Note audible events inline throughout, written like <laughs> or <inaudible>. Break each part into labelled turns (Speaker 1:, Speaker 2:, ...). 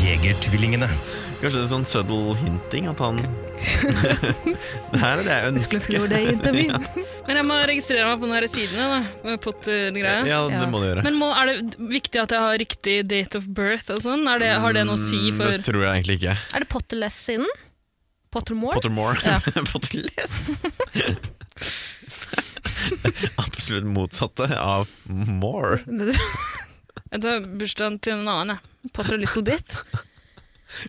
Speaker 1: Jegertvillingene.
Speaker 2: Kanskje det er sånn subtle hinting at
Speaker 3: <laughs>
Speaker 2: han Det her er det jeg
Speaker 3: Skulle
Speaker 2: ønsker.
Speaker 3: tro det i <laughs> intervju.
Speaker 4: Men jeg må registrere meg på den her sidene, da. med Potter-greia.
Speaker 2: <laughs> Ja, det
Speaker 3: Ja.
Speaker 2: må du gjøre.
Speaker 4: Men må, er det viktig at jeg har riktig date of birth og sånn? Er det, har det noe å si
Speaker 2: Mm,
Speaker 4: for
Speaker 2: Det tror jeg egentlig ikke.
Speaker 3: Er det Potterless siden? Pottermore?
Speaker 2: Pottermore. <laughs>
Speaker 3: Ja.
Speaker 2: Potterless. <laughs> Absolutt motsatte av more.
Speaker 4: Jeg tar bursdagen til en annen, jeg. Potter og Little Bit.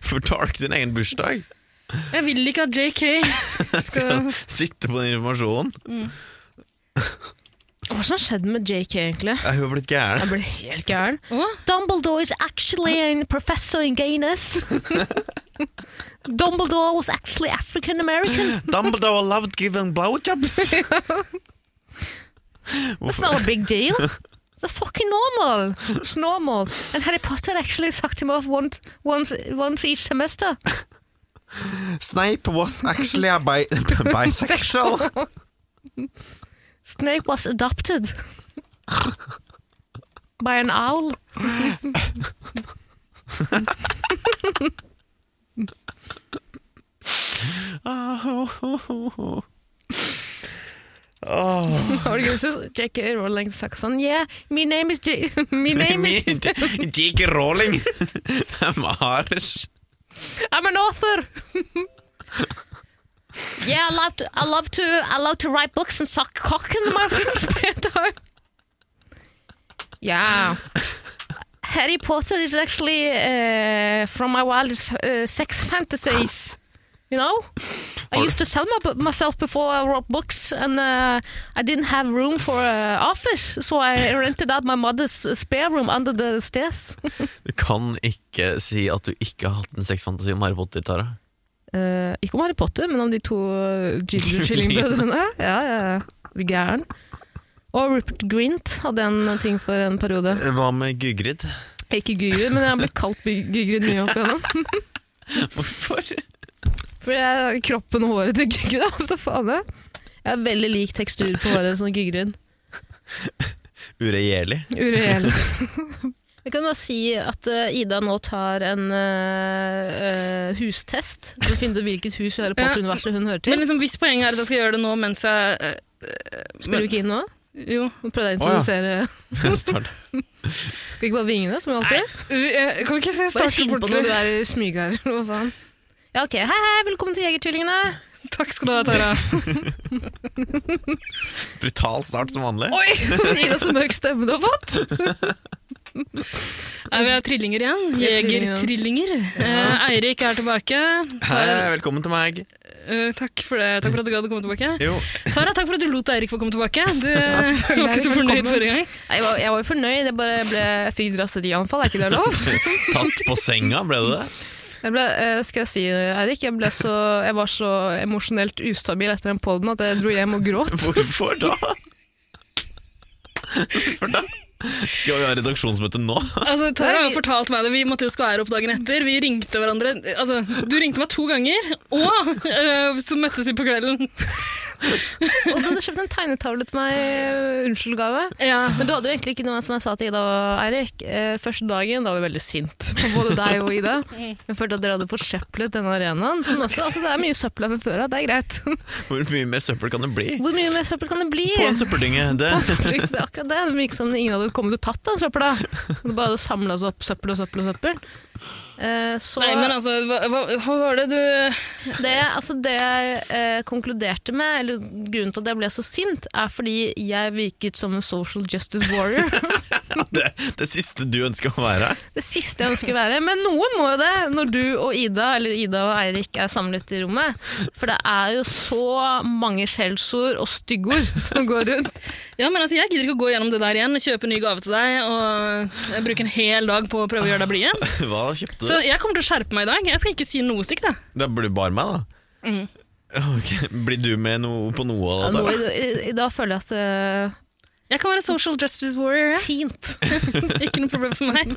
Speaker 2: For Dark din egen bursdag.
Speaker 4: Jeg vil ikke at JK skal
Speaker 2: Sitte på den informasjonen.
Speaker 3: <laughs> Hva som skjedde med JK, egentlig?
Speaker 2: Jeg har blitt gæren.
Speaker 3: <laughs> Jeg ble helt gæren.
Speaker 4: Å?
Speaker 3: Dumbledore is actually a professor in gayness. Dumbledore was actually African
Speaker 2: <laughs>
Speaker 3: American.
Speaker 2: Dumbledore loved giving blowjobs.
Speaker 3: <laughs> That's
Speaker 2: Hvorfor?
Speaker 3: not a big deal. That's fucking normal. It's normal. And Harry Potter actually sucked him off once, once, once each semester. Sånn.
Speaker 2: Snape was actually a bi <laughs>
Speaker 3: <laughs>
Speaker 2: bisexual.
Speaker 3: Snape was adopted by an owl.
Speaker 2: Oh.
Speaker 3: Har du ikke lyst til J.K. Rowling sagt sånn Yeah, my name is J... <laughs> My name is
Speaker 2: J.K. <laughs> Rowling. I'm Irish.
Speaker 3: I'm an author! <laughs> yeah, I love to I love to I love to write books and suck cock in <laughs> my spare time. Yeah. Harry Potter is actually uh, from my wildest uh, sex fantasies. You know, I
Speaker 2: Har-
Speaker 3: used to sell my, myself before I wrote books, and uh, I didn't have room for an office, so I rented out my mother's uh, spare room under the stairs.
Speaker 2: Du kan ikke si at du ikke har hatt en sexfantasi om Harry Potter, Tara.
Speaker 3: Eh, ikke om Harry Potter, men om de to eh, ginger chilling-brødrene. Ja, ja, ja. Blir Gæren. Og Rupert Grint hadde en ting for en periode.
Speaker 2: Hva med Gygrid? <laughs>
Speaker 3: Ikke Gygrid, men jeg har blitt kalt By- Gygrid mye opp igjennom.
Speaker 2: Hvorfor?
Speaker 3: For jeg, kroppen og håret til Gygrid <laughs> er også faen jeg. Jeg har veldig lik tekstur på håret som Gygrid.
Speaker 2: Uregjerlig.
Speaker 3: Ureell. <laughs> Vi kan bare si at eh, Ida nå tar en eh, eh, hustest for å finne ut hvilket hus i Harry Potter-universet hun hører
Speaker 4: Men
Speaker 3: til.
Speaker 4: liksom, hvis poenget er at jeg skal gjøre det nå mens jeg eh,
Speaker 3: Spiller du ikke inn nå?
Speaker 4: Jo.
Speaker 3: Nå prøvde jeg å
Speaker 2: Å, ja.
Speaker 3: introdusere
Speaker 2: Start.
Speaker 3: Skal ikke bare vinge det, som vi alltid?
Speaker 4: Eh, Kan vi ikke se
Speaker 3: Bare
Speaker 4: starte
Speaker 3: finn på
Speaker 4: bort
Speaker 3: noe, du er smyger. Hva faen? Ja, ok. Hei, hei, velkommen til Jegertvillingene.
Speaker 4: Takk skal du ha, Tara.
Speaker 2: Brutal start som vanlig.
Speaker 3: Oi! <laughs> Ida så mørk stemme du har fått.
Speaker 4: Er vi er trillinger igjen.
Speaker 3: Vi er trillinger igjen.
Speaker 4: Jegertrillinger. Eh, Eirik er tilbake. Tar,
Speaker 2: Hei, velkommen til meg.
Speaker 4: eh, takk for det. Takk for at du gadd å komme tilbake.
Speaker 2: Jo,
Speaker 4: Tara, takk for at du lot Eirik få komme tilbake.
Speaker 3: <laughs>
Speaker 4: Du eh, <laughs> var ikke så
Speaker 3: Eirik
Speaker 4: fornøyd
Speaker 3: velkommen.
Speaker 4: forrige gang.
Speaker 3: Nei, Jeg var, jeg var jo fornøyd, jeg bare ble, jeg fikk raserianfall, er ikke det lov?
Speaker 2: tatt på senga, ble det det?
Speaker 3: Jeg ble, eh, skal jeg si, Eirik, jeg, ble så, jeg var så emosjonelt ustabil etter den podden at jeg dro hjem og gråt.
Speaker 2: Hvorfor da? Hvorfor da? Skal vi ha redaksjonsmøte nå?
Speaker 4: Altså, Tara har
Speaker 3: vi-
Speaker 4: jo fortalt meg det. Vi måtte jo skvære opp dagen etter. Vi ringte hverandre. Altså, du ringte meg to ganger, og eh, så møttes vi på
Speaker 3: <laughs>
Speaker 4: kvelden.
Speaker 3: Og du hadde kjøpt en tegnetavle til meg, eh, unnskyld gave.
Speaker 4: Ja.
Speaker 3: Men du hadde jo egentlig ikke noe som jeg sa til Ida og Eirik. Eh, første dagen da var vi veldig sint på både deg og Ida. Jeg følte at dere hadde forsøplet denne arenaen. Som også, altså, det er mye søppel her fra før av, det er greit.
Speaker 2: Hvor mye mer søppel kan det bli?
Speaker 3: Hvor mye mer søppel kan det bli?
Speaker 2: På en søppeldynge. Det
Speaker 3: <laughs> Det er akkurat det. Det virker som ingen hadde kommet og tatt den søpla. Det bare hadde samla seg opp søppel og søppel og søppel. Eh, så
Speaker 4: Nei, men altså, hva, hva, hva var det du
Speaker 3: det, altså, det jeg eh, konkluderte med, eller grunnen til at jeg ble så sint, er fordi jeg virket som en social justice warrior. <laughs>
Speaker 2: det, <laughs> det siste du ønsker å være.
Speaker 3: Det siste jeg ønsker å være. Men noen må jo det, når du og Ida eller Ida og Eirik er samlet i rommet. For det er jo så mange skjellsord og styggord <laughs> som går rundt.
Speaker 4: Ja, men altså, Jeg gidder ikke å gå gjennom det der igjen og kjøpe en ny gave til deg og eh, bruke en hel dag på å prøve å gjøre deg blid igjen.
Speaker 2: Hva kjøpte
Speaker 4: Så
Speaker 2: du?
Speaker 4: jeg kommer til å skjerpe meg i dag. Jeg skal ikke si noe stygt. da. Mm.
Speaker 2: Det burde du bare meg, da. <laughs> Ok, Blir du med no, på noe
Speaker 3: Ja,
Speaker 2: av
Speaker 3: nå,
Speaker 2: dette?
Speaker 3: i, i, I dag føler jeg at eh,
Speaker 4: Jeg kan være social justice warrior. jeg.
Speaker 3: Fint.
Speaker 4: Ikke noe problem for meg.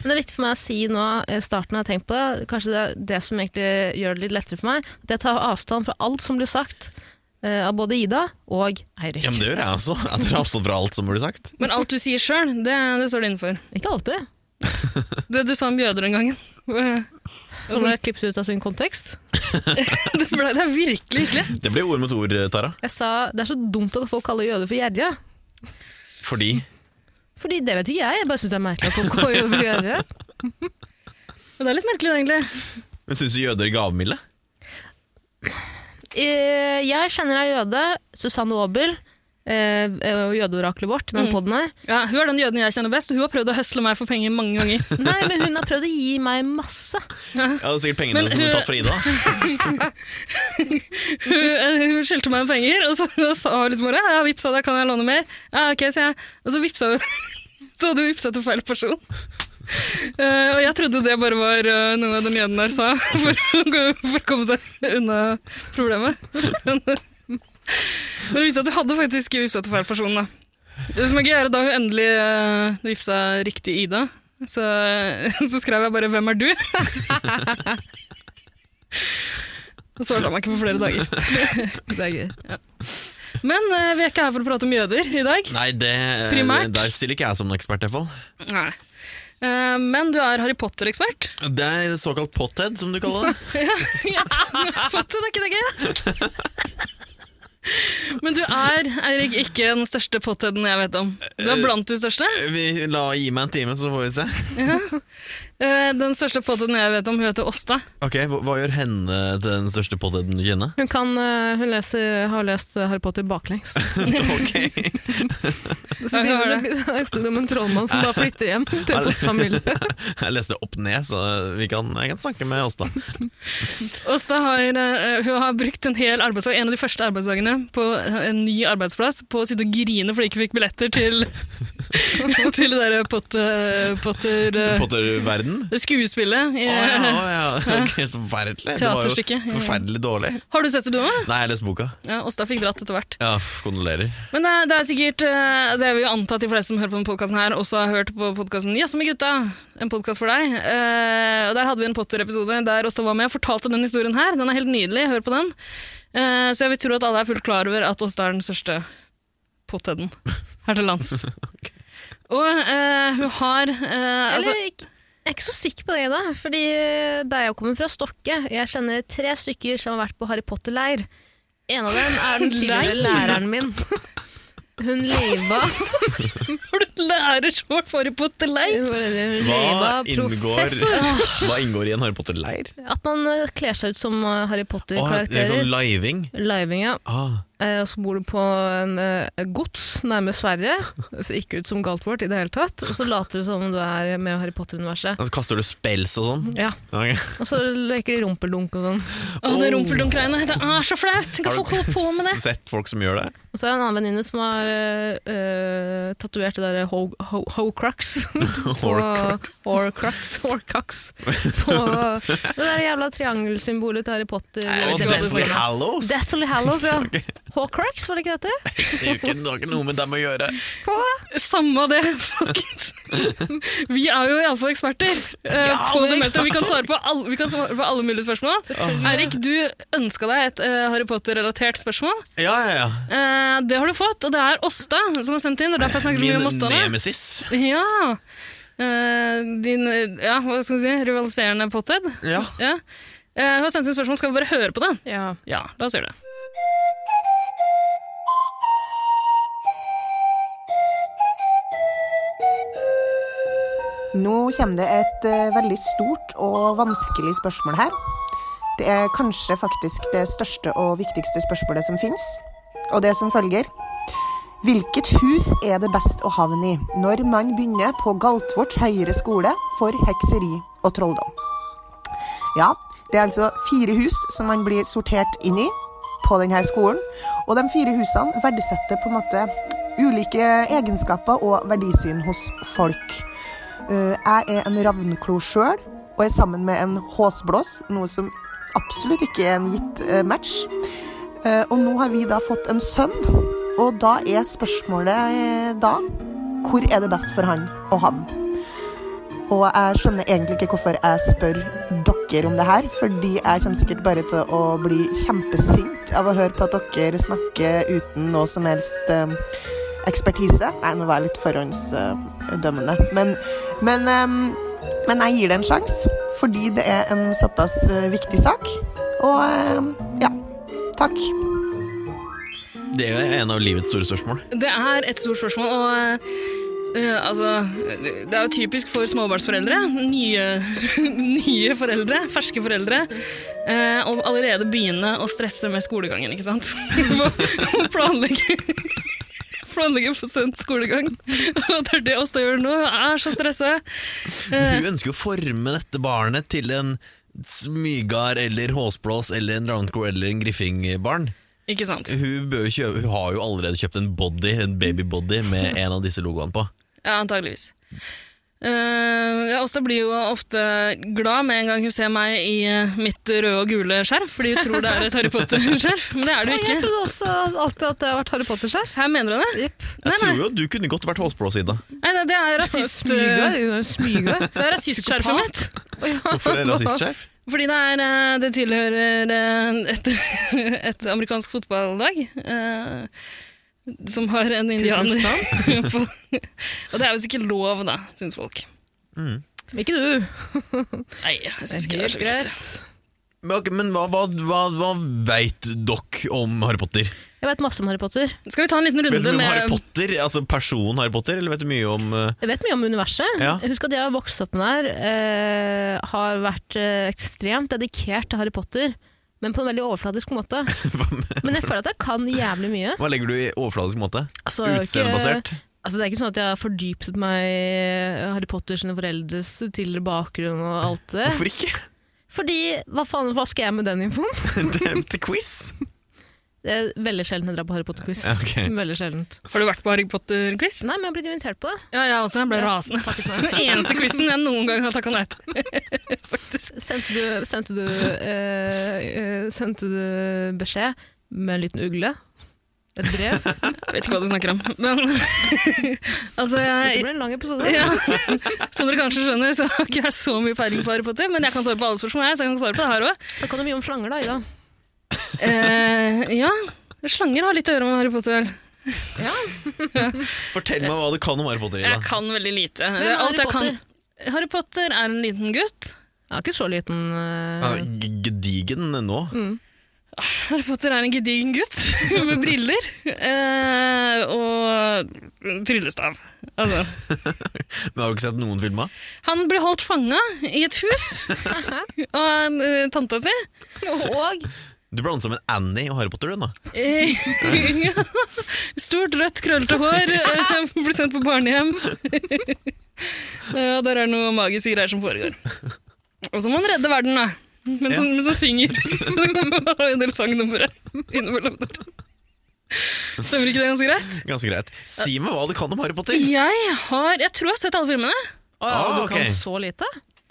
Speaker 3: Men det er viktig for meg å si nå, eh, starten jeg har tenkt på, det, kanskje det er det som egentlig gjør det litt lettere for meg, det er å ta avstand fra alt som blir sagt eh, av både Ida og Eirik.
Speaker 2: Ja, men det gjør jeg også. Jeg tar avstand fra alt som blir sagt.
Speaker 4: Men alt du sier sjøl, det, det står du innenfor.
Speaker 3: Ikke alltid.
Speaker 4: Det du sa om jøder den gangen. <laughs> Det,
Speaker 3: Som ble klippet ut av sin kontekst.
Speaker 4: ble, det er virkelig hyggelig.
Speaker 2: Det blir ord mot ord, Tara.
Speaker 3: Jeg sa det er så dumt at folk kaller jøder for gjerrige.
Speaker 2: Fordi
Speaker 3: Fordi det vet ikke jeg, jeg bare syns det er merkelig at folk kaller jøder for gjerrige.
Speaker 4: Men Det er litt merkelig, egentlig.
Speaker 2: Men syns du jøder er gavmilde?
Speaker 3: Eh, jeg kjenner ei jøde, Susanne Aabel, eh, eh, jødeoraklet vårt, i den podden her.
Speaker 4: Ja, hun er den jøden jeg kjenner best, og hun har prøvd å høsle meg for penger mange ganger. <laughs>
Speaker 3: Nei, men hun har prøvd å gi meg masse.
Speaker 2: Ja, det er sikkert pengene
Speaker 4: Men
Speaker 2: som
Speaker 4: hun-
Speaker 2: er tatt fra Ida.
Speaker 4: Hun, hun skjelte meg med penger, og så og sa hun liksom bare ja, vippsa deg, kan jeg låne mer? Ja, ok, sier jeg. Og så vippsa hun. <laughs> Så hadde hun vippsa til feil person. Eh, og jeg trodde det bare var eh, noe den jøden der sa <laughs> for, å gå- for å komme seg unna problemet. Men eh, men det viste seg at hun hadde faktisk vippsa til feil person. Da. Det som er gøy, er at da hun endelig uh, vippsa riktig Ida, så, <laughs> så skrev jeg bare 'Hvem er du?' <laughs> Og så svarte han meg ikke på flere dager. <laughs>
Speaker 3: Det er gøy.
Speaker 4: Men eh, vi er ikke her for å prate om jøder i dag.
Speaker 2: Nei, det,
Speaker 4: Primært.
Speaker 2: der stiller ikke jeg som en ekspert, i hvert fall.
Speaker 4: Nei. Eh, men du er Harry Potter-ekspert.
Speaker 2: Det er såkalt pothead, som du kaller det.
Speaker 4: Potter, er ikke det gøy? Men du er, Eirik, ikke den største potheaden jeg vet om. Du er blant de største. <laughs>
Speaker 2: Vi la Gi meg en time, så får vi se.
Speaker 4: Eh, den største potheaden jeg vet om, hun heter Åsta.
Speaker 2: Ok, Hva, hva gjør henne til den største potheaden du kjenner?
Speaker 4: <laughs>
Speaker 3: Hun, kan, eh, hun leser, har lest eh, Harry Potter baklengs.
Speaker 2: Ok.
Speaker 3: Så
Speaker 4: Ja, hun
Speaker 3: begynner
Speaker 4: har
Speaker 3: det <laughs> en historie om en trollmann som da flytter hjem til
Speaker 2: <laughs>
Speaker 3: fosterfamilien.
Speaker 2: Jeg leste opp ned, så vi kan, jeg kan snakke med oss, da.
Speaker 4: Åsta har, eh, hun har brukt en hel arbeidsdag, en av de første arbeidsdagene på en ny arbeidsplass på å sitte og grine fordi de ikke fikk billetter til, <laughs> til det der potter... potter <laughs> eh,
Speaker 2: Potterverden.
Speaker 4: det skuespillet. i-
Speaker 2: Å ja,
Speaker 4: <laughs>
Speaker 2: å, ja. Ok, så forferdelig. Det var jo
Speaker 4: Teaterstykket, ja.
Speaker 2: forferdelig dårlig.
Speaker 4: Har du sett det, du òg?
Speaker 2: Nei, jeg leste boka.
Speaker 4: Ja, Åsta fikk dratt etter hvert.
Speaker 2: Ja, f- kondolerer.
Speaker 4: Men det, er- det er sikkert eh, altså Jeg vil jo anta at de fleste som hører på denne podkasten, også har hørt på podkasten Jazz med gutta, en podkast for deg. Eh, og Der hadde vi en Potter-episode der Åsta var med og fortalte den historien her. Den er helt nydelig. Hør på den. Eh, så jeg vil tro at alle er fullt klar over at Åsta er den største potheden her til
Speaker 2: <laughs>
Speaker 4: lands. Og eh, hun har eh, altså,
Speaker 3: Eller, ikke- jeg er ikke så sikker på det, da. Fordi eh, der jeg kommer fra, Stokke Jeg kjenner tre stykker som har vært på Harry Potter-leir. En av dem er den tidligere læreren min. Hun <laughs> leiva,
Speaker 4: Har du lærershort for Harry Potter-leir?
Speaker 3: hun leiva
Speaker 2: Hva inngår,
Speaker 3: professor.
Speaker 2: hva inngår i en Harry Potter-leir?
Speaker 3: At man eh, kler seg ut som eh,
Speaker 2: Å,
Speaker 3: Harry
Speaker 2: det er sånn
Speaker 3: Potter-karakterer.
Speaker 2: living.
Speaker 3: Living, ja.
Speaker 2: Ah,
Speaker 3: Eh, Og så bor du på en eh, gods nærme Sverige. Det ser ikke ut som Galtvort i det hele tatt. Og så later du som om du er med i Harry Potter-universet.
Speaker 2: altså, kaster du spels og sånn?
Speaker 3: Ja,
Speaker 2: Ok.
Speaker 3: Og så leker de rumpeldunk og sånn.
Speaker 4: Å, det rumpeldunk-greiene. Det er så flaut! Tenk
Speaker 2: Oh. Har du
Speaker 4: at folk holder på med det.
Speaker 2: <laughs> Sett folk som gjør det?
Speaker 3: Og så er det en annen venninne som har uh, tatovert det derre ho- ho- Horcrux.
Speaker 2: <laughs>
Speaker 3: På- Horcrux. Horcrux. På det der jævla triangelsymbolet til Harry Potter.
Speaker 4: Nei, jeg
Speaker 2: Og
Speaker 4: vet ikke hva du
Speaker 2: Deathly
Speaker 4: snakker om.
Speaker 2: Hallows! Det
Speaker 3: Deathly Hallows,
Speaker 2: <laughs>
Speaker 3: ja. Horcrux, var det ikke dette?
Speaker 2: er jo ikke det har ikke noe med dem å gjøre.
Speaker 4: Samme av det, folkens. Vi er jo iallfall eksperter eh,
Speaker 3: Ja,
Speaker 4: på
Speaker 3: men
Speaker 4: det
Speaker 3: ikke
Speaker 4: meste. Vi kan svare på alle, vi kan svare på alle mulige spørsmål. Eirik, du ønska deg et eh, Harry Potter-relatert spørsmål.
Speaker 2: Ja, ja, ja.
Speaker 4: Eh, det har du fått, og det er Åsta som har sendt inn. Det er
Speaker 3: Eh,
Speaker 4: derfor jeg snakker så mye
Speaker 2: Min
Speaker 4: om Åsta. nå.
Speaker 2: nemesis.
Speaker 4: Ja. Eh, din eh, ja, hva skal vi si, rivaliserende pothead.
Speaker 2: Ja.
Speaker 4: Ja. Eh, hun har sendt inn spørsmål, skal vi bare høre på det?
Speaker 3: Ja.
Speaker 4: Ja, la oss gjøre det.
Speaker 5: Nå kommer det et eh, veldig stort og vanskelig spørsmål her. Det er kanskje faktisk det største og viktigste spørsmålet som fins, og det som følger. Hvilket hus er det best å havne i når man begynner på Galtvort høyere skole for hekseri og trolldom? Ja, det er altså fire hus som man blir sortert inn i på denne skolen. Og de fire husene verdsetter på en måte ulike egenskaper og verdisyn hos folk. Eh, Jeg er en ravnklo sjøl, og er sammen med en håsblås, noe som absolutt ikke en gitt eh, match. Eh, Og nå har vi da fått en sønn, og da er spørsmålet eh, da hvor er det best for han å havne? Og jeg skjønner egentlig ikke hvorfor jeg spør dere om det her, fordi jeg kommer sikkert bare til å bli kjempesint av å høre på at dere snakker uten noe som helst eh, ekspertise. Nei, nå var jeg litt forhåndsdømmende, men, men, eh, men jeg gir det en sjanse, fordi det er en såpass eh, viktig sak. Og eh, ja, takk.
Speaker 2: Det er en av livets store spørsmål.
Speaker 4: Det er et stort spørsmål, og eh, altså, det er jo typisk for småbarnsforeldre, nye, <laughs> nye foreldre, ferske foreldre, eh, å allerede begynne å stresse med skolegangen, ikke sant? <laughs> Å planlegge planlegge for sent skolegang. <laughs> Og det er det Åsta gjør nå, hun er så stressa.
Speaker 2: Hun ønsker jo å forme dette barnet til en smygard eller håsblås eller en roundcore eller en griffingbarn.
Speaker 4: Ikke sant?
Speaker 2: Hun, bør jo kjøpe, hun har jo allerede kjøpt en body, en babybody med en av disse logoene på.
Speaker 4: Ja, antageligvis. Uh, ja, Åsta blir jo ofte glad med en gang hun ser meg i eh, mitt røde og gule skjerf, fordi hun tror det er et Harry Potter-skjerf, men det er det jo
Speaker 3: Jeg
Speaker 4: ikke.
Speaker 3: trodde også alltid at det har vært Harry <laughs> Potter-skjerf.
Speaker 4: Her mener du det?
Speaker 3: Jepp.
Speaker 2: Jeg
Speaker 4: Nei, nei,
Speaker 2: tror jo at du kunne godt vært håsblås, Ida.
Speaker 4: nei, nei, det er rasist... eh,
Speaker 3: Smyga.
Speaker 4: Det er rasistskjerfet mitt.
Speaker 2: <laughs> Hvorfor er det rasistskjerf?
Speaker 4: Fordi det, er, eh, det tilhører eh, et, <laughs> et amerikansk fotballag eh, som har en indianer på. <laughs> Og det er visst ikke lov, da, syns folk.
Speaker 3: Ikke du.
Speaker 4: Nei, jeg syns ikke det er så viktig.
Speaker 2: Men, ok, men hva, hva, hva, hva veit dere om Harry Potter?
Speaker 3: Jeg vet masse om Harry Potter.
Speaker 4: Skal vi ta en liten runde
Speaker 2: Vet du mye om
Speaker 4: med
Speaker 2: Harry Potter, altså personen Harry Potter, eller vet du mye om eh,
Speaker 3: Jeg vet mye om universet.
Speaker 2: <laughs> Ja.
Speaker 3: Husk at jeg har vokst opp med det her. Eh, har vært eh, ekstremt dedikert til Harry Potter, men på en veldig overfladisk måte. men jeg føler at jeg kan jævlig mye.
Speaker 2: Hva legger du i overfladisk måte?
Speaker 3: Altså, jeg har ikke-
Speaker 2: Utseendebasert?
Speaker 3: Altså, det er ikke sånn at jeg har fordypet meg i Harry Potter sine foreldres tidligere bakgrunn og alt det.
Speaker 2: Hvorfor ikke? <laughs>
Speaker 3: Fordi, hva faen, hva skal jeg med den infoen?
Speaker 2: Til til quiz?
Speaker 3: Det er veldig sjelden jeg drar på Harry Potter-quiz.
Speaker 2: Ja, ok.
Speaker 3: Veldig sjeldent.
Speaker 4: Har du vært på Harry Potter-quiz?
Speaker 3: Nei, men jeg har blitt invitert på det.
Speaker 4: Ja, jeg også. Jeg ble rasende. Den eneste quizen jeg noen gang har takka nei til. Faktisk.
Speaker 3: Sendte du, sendte du, eh, eh, sendte du beskjed med en liten ugle? Et brev?
Speaker 4: Jeg vet ikke hva du snakker om. Men <laughs> altså,
Speaker 3: Dette
Speaker 4: jeg
Speaker 3: blir en lang episode.
Speaker 4: ja. Som dere kanskje skjønner, så har ikke jeg så mye peiling på Harry Potter, men jeg kan svare på alle spørsmål, jeg, så jeg kan svare på det her òg.
Speaker 3: Da kan du mye om slanger, da, Ida.
Speaker 4: Eh, ja, slanger har litt å gjøre med Harry Potter. vel?
Speaker 2: Fortell meg hva du kan om Harry Potter,
Speaker 4: Jeg
Speaker 2: Ida.
Speaker 4: kan veldig lite.
Speaker 3: Hvem er Harry
Speaker 4: Alt jeg kan
Speaker 3: Potter?
Speaker 4: Harry Potter er en liten gutt.
Speaker 3: Jeg er ikke så liten.
Speaker 2: Ja,
Speaker 3: eh,
Speaker 4: Mm.
Speaker 2: g- Gedigen nå.
Speaker 4: Harry Potter er en gedigen gutt <laughs> med briller eh, og tryllestav. Altså.
Speaker 2: Men Har du ikke sett noen filmer?
Speaker 4: Han blir holdt fanga i et <laughs> hus av en, eh, tanta <laughs> si.
Speaker 3: Og
Speaker 2: Du blanda sammen Annie og Harry Potter, du nå.
Speaker 4: Eh, Stort, rødt, krøllete hår. eh, Blir sendt på barnehjem. <laughs> Eh, Og der er noe magiske greier som foregår. Og så må han redde verden, da. Men så,
Speaker 2: Ja.
Speaker 4: men så synger <laughs> Han har jo en del sangnumre innimellom der. Stemmer ikke det ganske greit?
Speaker 2: Ganske greit. Si meg hva du kan om Harry Potter!
Speaker 4: Jeg har, jeg tror jeg har sett alle filmene.
Speaker 3: Å ja,
Speaker 2: Ah,
Speaker 3: du kan
Speaker 2: ok.
Speaker 3: så lite?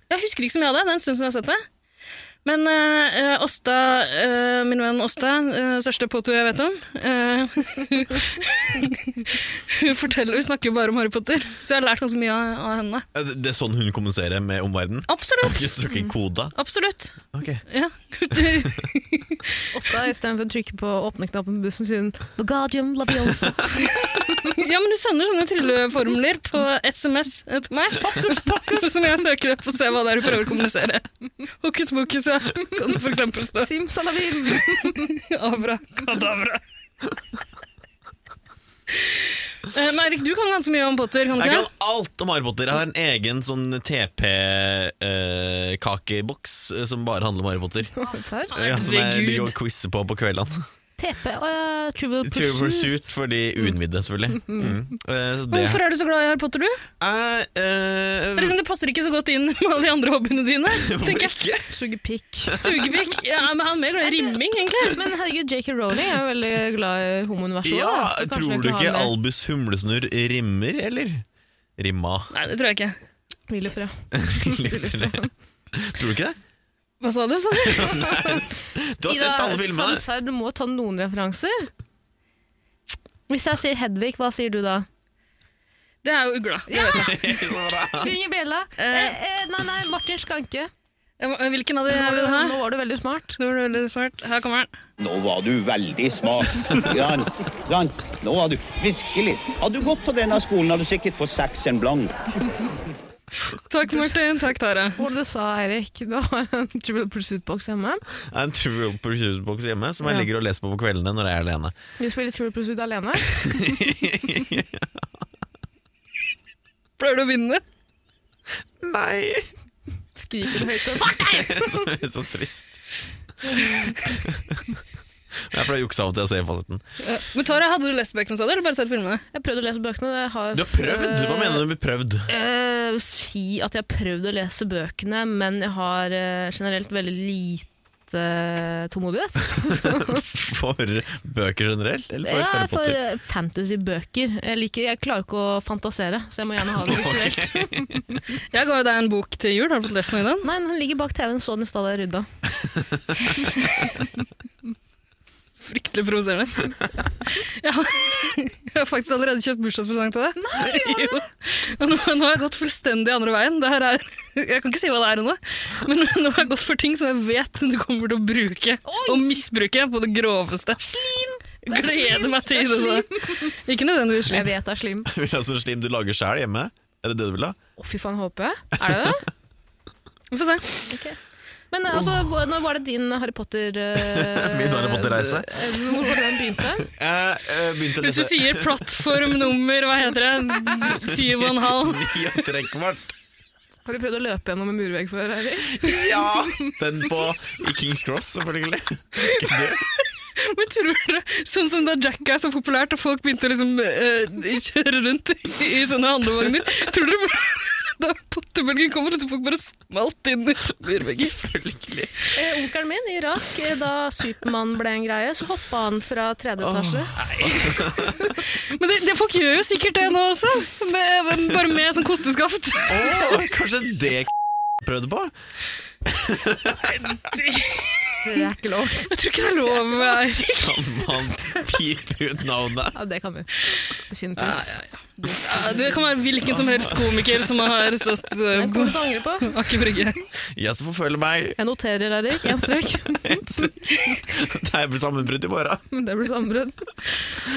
Speaker 4: Jeg husker ikke så mye av det. Det er en stund siden jeg har sett det. Men eh, Åsta, eh, min venn Åsta, eh, største påto jeg vet om eh, <laughs> Hun forteller, hun snakker jo bare om Harry Potter, så jeg har lært ganske mye av, av henne.
Speaker 2: Eh, Det det er sånn hun kommuniserer med omverdenen?
Speaker 4: Absolutt!
Speaker 2: Ikke så ikke koda?
Speaker 4: Absolutt.
Speaker 2: Ok.
Speaker 4: Ja.
Speaker 3: Åsta istedenfor å trykke på åpne-knappen på bussen siden Vagadium
Speaker 2: <laughs>
Speaker 3: laviosa.
Speaker 4: ja, men du sender sånne trylleformler på SMS til meg, som jeg søker opp og ser hva det er du prøver å kommunisere. Hokus pokus, ja. Kan det for eksempel stå
Speaker 3: Simsalabim.
Speaker 4: Abra kadabra. Eh, Men Erik, du kan ganske mye om Potter, kan du
Speaker 2: Jeg
Speaker 4: ikke?
Speaker 2: kan alt om Harry Potter. Jeg har en egen sånn TP-kakeboks eh, som bare handler om Harry Potter.
Speaker 3: Serr?
Speaker 2: Ja, som jeg
Speaker 4: Herregud.
Speaker 2: ligger og quizer på på kveldene. <laughs>
Speaker 3: TP og uh, Trivial
Speaker 2: True
Speaker 3: Pursuit.
Speaker 2: Pursuit for de uinnvidde, selvfølgelig. Mm. Eh, så det-
Speaker 4: Hvorfor er du så glad i Harry Potter, du?
Speaker 2: Eh, eh,
Speaker 4: Det, er liksom, det passer ikke så godt inn <laughs> med alle de andre hobbyene
Speaker 2: <laughs>
Speaker 4: dine. tenker
Speaker 2: Hvorfor
Speaker 4: jeg.
Speaker 2: ikke?
Speaker 3: Suger pikk.
Speaker 4: Sugepikk. Ja, men han er mer glad i rimming, egentlig.
Speaker 3: <laughs> Men herregud, J.K. Rowling er jo veldig glad i homouniverset.
Speaker 2: Ja,
Speaker 3: da. Så kanskje
Speaker 2: tror
Speaker 3: hun
Speaker 2: du
Speaker 3: kan ha
Speaker 2: ikke
Speaker 3: en eh, mer
Speaker 2: Albus Humlesnurr rimmer, eller? Rimma.
Speaker 3: <laughs>
Speaker 4: Nei, det tror jeg ikke.
Speaker 3: hvile frø.
Speaker 2: tror du ikke det?
Speaker 4: Hva sa du? sa
Speaker 2: <laughs>
Speaker 4: du?
Speaker 2: Du har sett alle filmene!
Speaker 3: Sansar, du må ta noen referanser. Hvis jeg sier Hedvig, hva sier du da?
Speaker 4: Det er jo ugla. det vet jeg.
Speaker 3: Ringer bjella.
Speaker 4: Eh.
Speaker 3: Eh, eh, nei, nei, Martin Skanke.
Speaker 4: Eh, Hvilken av
Speaker 3: Nå
Speaker 4: de er
Speaker 3: var du-
Speaker 4: vi det her?
Speaker 3: Nå var du veldig smart.
Speaker 4: Nå var du veldig smart. Her kommer den.
Speaker 6: Nå var du veldig smart. Sant? Sant? Nå var du virkelig. Hadde du gått på denne skolen, hadde du sikkert fått seks en blank.
Speaker 4: Takk, Martin. Takk, Tara.
Speaker 3: Hvordan du sa, Eirik, du har en Triple Pursuit-boks hjemme.
Speaker 2: Det er en True Pursuit-boks hjemme som jeg
Speaker 3: Ja.
Speaker 2: ligger og leser på på kveldene når jeg er alene.
Speaker 3: Du spiller Triple Pursuit <laughs> alene.
Speaker 4: Pleier du å vinne?
Speaker 2: Nei! <laughs>
Speaker 3: Skriker høyt og Fuck deg!
Speaker 2: Så, så
Speaker 3: <laughs>
Speaker 2: trist. Men jeg pleier å jukse av og til å se fasiten.
Speaker 4: Eh, Men Tara, hadde du lest bøkene, sa du? Eller bare sett filmene?
Speaker 3: Jeg prøvde å lese bøkene. Det har,
Speaker 2: Du har prøvd! Hva mener du med prøvd? <laughs>
Speaker 3: Eh, si at jeg har prøvd å lese bøkene, men jeg har eh, generelt veldig lite eh,
Speaker 2: <laughs>
Speaker 3: tålmodighet.
Speaker 2: For bøker generelt, eller for
Speaker 3: Ja,
Speaker 2: Harry
Speaker 3: for
Speaker 2: Potter?
Speaker 3: eh, fantasybøker. Jeg, liker, jeg klarer ikke å fantasere, så jeg må
Speaker 2: <laughs>
Speaker 3: gjerne ha det visuelt.
Speaker 4: Jeg ga jo deg en bok til jul. Har du fått lest noe i den?
Speaker 3: Nei, den ligger bak TV-en, så den i stad da jeg rydda.
Speaker 4: Fryktelig <laughs> provoserende. Jeg har, jeg har faktisk allerede kjøpt bursdagspresang til deg. Nei, jo. Og nå, nå har jeg gått fullstendig andre veien. Det her er, jeg kan ikke si hva det er ennå, men nå har jeg gått for ting som jeg vet du kommer til å bruke og misbruke på det groveste. Slim! Gleder meg til det. Ikke nødvendigvis
Speaker 3: Jeg
Speaker 4: slim. <laughs>
Speaker 3: vet det er slim.
Speaker 2: Vil du ha sånn slim du lager sjæl hjemme? Er det det du vil ha?
Speaker 3: Å, fy faen, håper jeg. Er det det?
Speaker 4: Vi får se.
Speaker 3: Men eh, altså, hva- når var det din Harry Potter eh,
Speaker 2: <laughs> Min Harry Potter-reise?
Speaker 3: eh, Hvor var det den begynte?
Speaker 2: Jeg eh, begynte å
Speaker 4: Hvis du
Speaker 2: lese
Speaker 4: sier plattformnummer, hva heter det? Syv og en
Speaker 3: <laughs>
Speaker 4: halv?
Speaker 2: ni og trekvart.
Speaker 3: Har du prøvd å løpe gjennom en murvegg før, Eirik?
Speaker 2: Ja! Den på i Kings Cross, selvfølgelig. Ikke det.
Speaker 4: Men tror dere, sånn som da Jack er så populært, og folk begynte å liksom, eh, kjøre rundt i sånne handlevogner, tror dere <laughs> da pottebølgen kommer, liksom folk bare smalt inn i murvegger?
Speaker 2: Selvfølgelig.
Speaker 3: Eh, onkelen min i Irak, eh, da Supermann ble en greie, så hoppa han fra tredje etasje.
Speaker 4: Men det, det, folk gjør jo sikkert det nå også, med, med- bare med sånn kosteskaft.
Speaker 2: Åh, kanskje det prøvde på?
Speaker 3: <laughs> Det er ikke lov.
Speaker 4: Jeg tror ikke det er lov. Eirik.
Speaker 2: Kan man pipe ut navnet?
Speaker 3: Ja, det kan vi. Definitivt.
Speaker 4: Ja, ja, ja. Ja, Det kan være hvilken som helst komiker som har stått eh,
Speaker 3: Den
Speaker 4: på
Speaker 3: kommer du til å angre på.
Speaker 4: Aker Brygge.
Speaker 2: Jeg som forfølger meg.
Speaker 3: Jeg noterer, Eirik. Én strøk. <laughs>
Speaker 2: Det blir sammenbrudd i morgen.
Speaker 3: Men Det blir sammenbrudd.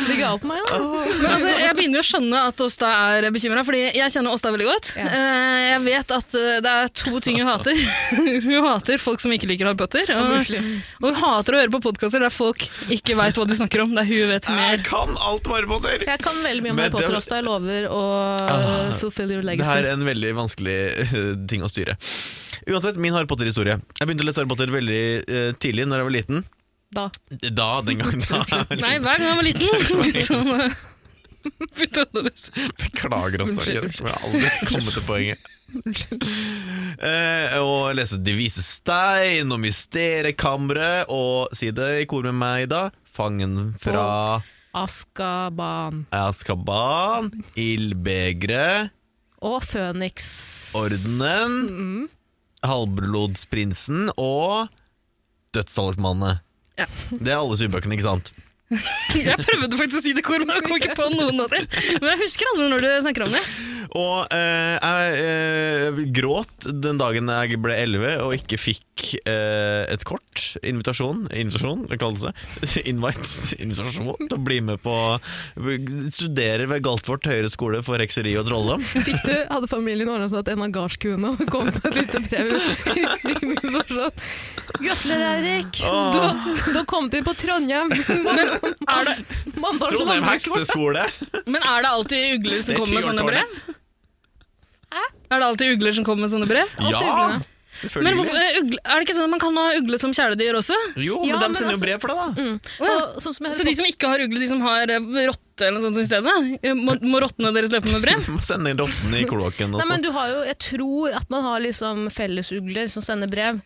Speaker 3: Ligg av på meg, da.
Speaker 4: Men altså, jeg begynner jo å skjønne at Åsta er bekymra, fordi jeg kjenner Åsta veldig godt.
Speaker 3: Ja.
Speaker 4: Eh, Jeg vet at eh, det er to ting hun hater. <laughs> Hun hater folk som ikke liker Harry Potter, og, og hun hater å høre på podkaster der folk ikke veit hva de snakker om, der hun vet
Speaker 2: Jeg
Speaker 4: mer.
Speaker 2: kan alt om Harry Potter!
Speaker 3: Jeg kan veldig mye om
Speaker 2: Men
Speaker 3: Harry
Speaker 2: det-
Speaker 3: Potter
Speaker 2: Ah.
Speaker 3: også, da jeg lover å uh, fulfill your
Speaker 2: Det her
Speaker 3: legacy.
Speaker 2: er en veldig vanskelig eh, ting å styre. Uansett, min Harry Potter-historie. Jeg begynte å lese Harry Potter veldig eh, tidlig, når jeg var liten.
Speaker 3: Da.
Speaker 2: Da, den gangen. Da, jeg var
Speaker 4: Nei, hver gang jeg var liten. <laughs> litt Sånn, eh, begynte å annerledes.
Speaker 2: Beklager oss, Norge.
Speaker 3: Unnskyld,
Speaker 2: Jeg har aldri kommet til poenget. Eh, og lese De vise stein og Mysteriekammeret, og si det i kor med meg, da. Fangen fra
Speaker 3: Askaban.
Speaker 2: Askaban, Ildbegeret,
Speaker 3: Og Føniks.
Speaker 2: Ordenen,
Speaker 3: Mm.
Speaker 2: Halvblodsprinsen og Dødstallismanene.
Speaker 4: Ja.
Speaker 2: Det er alle syvbøkene, ikke sant?
Speaker 4: Jeg prøvde faktisk å si det i kor, men jeg kom ikke på noen av dem. Men jeg husker alle når du snakker om det.
Speaker 2: Og eh, jeg eh, gråt den dagen jeg ble 11 og ikke fikk eh, et kort. Invitasjon. Invitasjon, det kalles det. <laughs> Invite. Invitasjon til å bli med på Studere ved Galtvort høyere skole for hekseri og trolldom.
Speaker 3: Fikk du, hadde familien ordna sånn at en av gardskuene kom med et lite brev i i min forsvar? Gratulerer, Eirik! Du, har- du har kommet inn på <laughs> Trondheim!
Speaker 4: Men er det,
Speaker 3: Mandal til
Speaker 2: Trondheim
Speaker 3: Landbrukskort.
Speaker 2: hekseskole!
Speaker 4: men er det alltid ugler som
Speaker 2: Det er
Speaker 4: kommer med sånne brev?
Speaker 2: tiårtårnet.
Speaker 4: Er det alltid ugler som kommer med sånne brev?
Speaker 2: Ja!
Speaker 3: uglene.
Speaker 4: Men
Speaker 2: Selvfølgelig.
Speaker 4: hvorfor, eh, ugle, er det ikke sånn at man kan ha ugle som kjæledyr også?
Speaker 2: Jo, men
Speaker 3: Ja, men
Speaker 2: de sender
Speaker 3: altså-
Speaker 2: jo brev for deg, da.
Speaker 3: Og sånn som jeg
Speaker 4: Så de som ikke har ugle, de som har eh, rotte eller noe sånt i stedet, eh, må, må rottene deres løpe med brev?
Speaker 2: Må sende inn rottene i kloakken sånn.
Speaker 3: Nei,
Speaker 2: også.
Speaker 3: men du har jo, Jeg tror at man har liksom fellesugler som sender brev.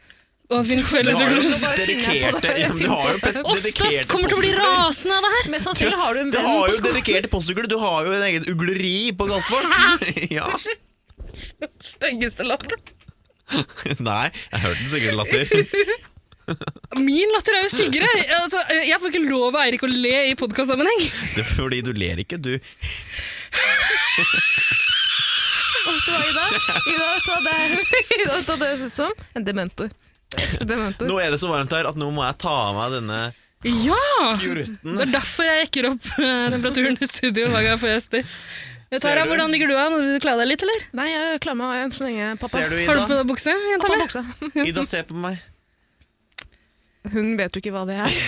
Speaker 4: Og det finnes
Speaker 2: Du
Speaker 4: felles
Speaker 2: har sånn
Speaker 4: ugler
Speaker 2: jo
Speaker 4: som
Speaker 3: bare finner jeg på
Speaker 2: dedikerte
Speaker 3: det.
Speaker 2: ja, men Du har jo pes-
Speaker 4: Åsta
Speaker 2: dedikerte
Speaker 4: kommer til å bli
Speaker 2: postugler.
Speaker 4: rasende av det her!
Speaker 3: Mest sannsynlig sånn har du en
Speaker 2: Det har
Speaker 3: venn
Speaker 2: jo dedikerte postugler. Du har jo en
Speaker 4: <laughs>
Speaker 2: egen ugleri på Galtvort. ja.
Speaker 4: Styggeste lappen.
Speaker 2: Nei, jeg hørte sikkert latter.
Speaker 4: Min latter er jo Sigre! Altså, jeg får ikke lov av Eirik å le i podkastsammenheng.
Speaker 2: Det er fordi du ler ikke, du.
Speaker 3: Vet du hva, <laughs> Ida? Ida, vet du hva det er- Ida, vet du hva det høres ut som? En dementor. En dementor.
Speaker 2: Nå er det så varmt her at nå må jeg ta av meg denne
Speaker 4: Ja!
Speaker 2: skjorten.
Speaker 4: Det er derfor jeg jekker opp eh, temperaturen i studio hver gang jeg får gjester. Ja, Tara,
Speaker 2: Ser du?
Speaker 4: hvordan ligger du an? Vil du kle deg litt, eller?
Speaker 3: Nei, jeg klarer meg enn så lenge, pappa.
Speaker 2: Ser du,
Speaker 4: Har du på
Speaker 2: Ida?
Speaker 4: deg bukse? jenta
Speaker 3: Pappa
Speaker 4: mi?
Speaker 3: buksa.
Speaker 2: Ida, se på meg.
Speaker 3: Hun vet jo ikke hva det er.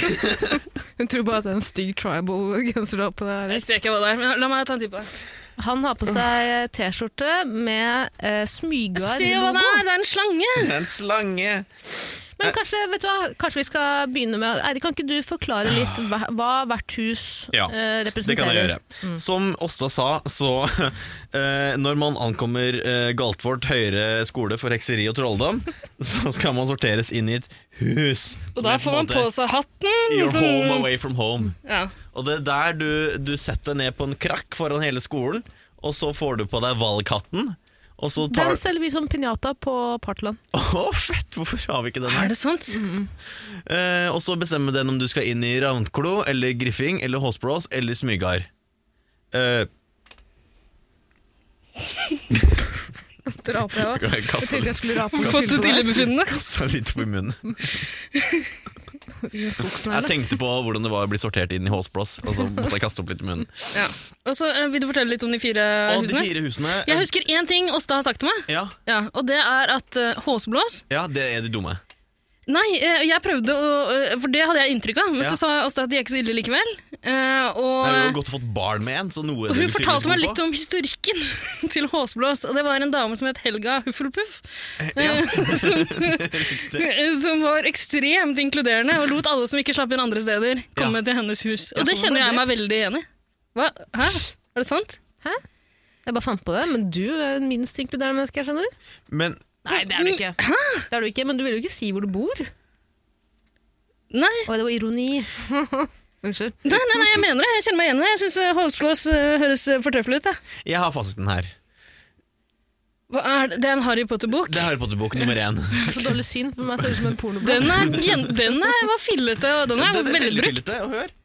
Speaker 3: <laughs> Hun tror bare at det er en stygg tribal-genser du har på deg.
Speaker 4: Jeg ser ikke hva det er, men la meg ta en titt på det.
Speaker 3: Han har på seg eh, T-skjorte med eh,
Speaker 4: Se hva det
Speaker 3: smygar-logo.
Speaker 4: er! Det er en slange!
Speaker 2: Det er En slange.
Speaker 3: Men kanskje, vet du hva? kanskje vi skal begynne med Eirik, kan ikke du forklare litt hva, hva hvert hus
Speaker 2: Ja,
Speaker 3: eh,
Speaker 2: Det kan jeg
Speaker 3: representerer?
Speaker 2: gjøre.
Speaker 4: Mm.
Speaker 2: Som Åsta sa, så <laughs> eh, når man ankommer eh, Galtvort høyere skole for hekseri og trolldom, så skal man sorteres inn i et hus.
Speaker 4: Og da får man på seg hatten.
Speaker 2: Your
Speaker 4: liksom-
Speaker 2: home away from home.
Speaker 4: ja.
Speaker 2: Og det er der du, du setter deg ned på en krakk foran hele skolen, og så får du på deg valghatten. Og så tar
Speaker 3: Den selger vi som pinjata på Parkland.
Speaker 2: <laughs> Å, fett! Hvorfor har vi ikke den her?
Speaker 4: Er det sant?
Speaker 2: Mm. Eh, og så bestemmer den om du skal inn i Ravnklo, eller Griffing, eller Håsblås, eller Smygar. Eh, <laughs>
Speaker 3: Dra på deg, hva?
Speaker 2: jeg
Speaker 3: Jeg
Speaker 2: kasta
Speaker 3: tenkte
Speaker 2: litt,
Speaker 3: jeg skulle rape
Speaker 4: Fått et illebefinnende?
Speaker 2: kastet litt på munnen. Jeg
Speaker 3: ille.
Speaker 2: tenkte på hvordan det var å bli sortert inn i Håsblås, og så måtte jeg kaste opp litt i munnen.
Speaker 4: Ja. Og så eh, Vil du fortelle litt om de fire
Speaker 2: Og de
Speaker 4: husene?
Speaker 2: fire husene eh,
Speaker 4: Jeg husker én ting Åsta har sagt til meg,
Speaker 2: ja,
Speaker 4: ja, og det er at eh, håsblås
Speaker 2: ja, det er de dumme.
Speaker 4: Nei, eh, jeg prøvde å eh, For det hadde jeg inntrykk av, men
Speaker 2: Ja.
Speaker 4: så sa Åsta at de er ikke så ille likevel. Eh,
Speaker 2: Det er jo
Speaker 4: og
Speaker 2: godt å få barn med en, så noe
Speaker 4: og hun fortalte meg litt om historikken <laughs> til Håsblås. Og det var en dame som het Helga Huffelpuff. eh, <laughs> som, som var ekstremt inkluderende og lot alle som ikke slapp inn andre steder, komme til hennes hus. Og det
Speaker 3: for hun
Speaker 4: kjenner
Speaker 3: var
Speaker 4: jeg meg veldig igjen i. Hva? Hæ? Er det sant?
Speaker 3: Jeg bare fant på det, men du er jo minst inkluderende menneske, jeg skjønner.
Speaker 2: Men
Speaker 3: Nei, det er du ikke. Det er du ikke, Men du vil jo ikke si hvor du bor.
Speaker 4: Nei.
Speaker 3: Å, det var ironi. <laughs> Unnskyld.
Speaker 4: Nei, nei, nei, jeg mener det. Jeg kjenner meg igjen i det. Jeg syns Holsblås eh, høres eh, fortreffelig ut. Jeg.
Speaker 2: jeg har fasiten her.
Speaker 4: Hva er det? det er en Harry Potter-bok.
Speaker 2: Det er Harry Potter-bok nummer
Speaker 4: <laughs>
Speaker 2: én.
Speaker 3: Det er så dårlig syn for meg, ser ut som en pornobok.
Speaker 4: Den, er, gen- den er, var fillete, og den er
Speaker 2: Den er veldig
Speaker 4: velbrukt.
Speaker 2: fillete, og hør.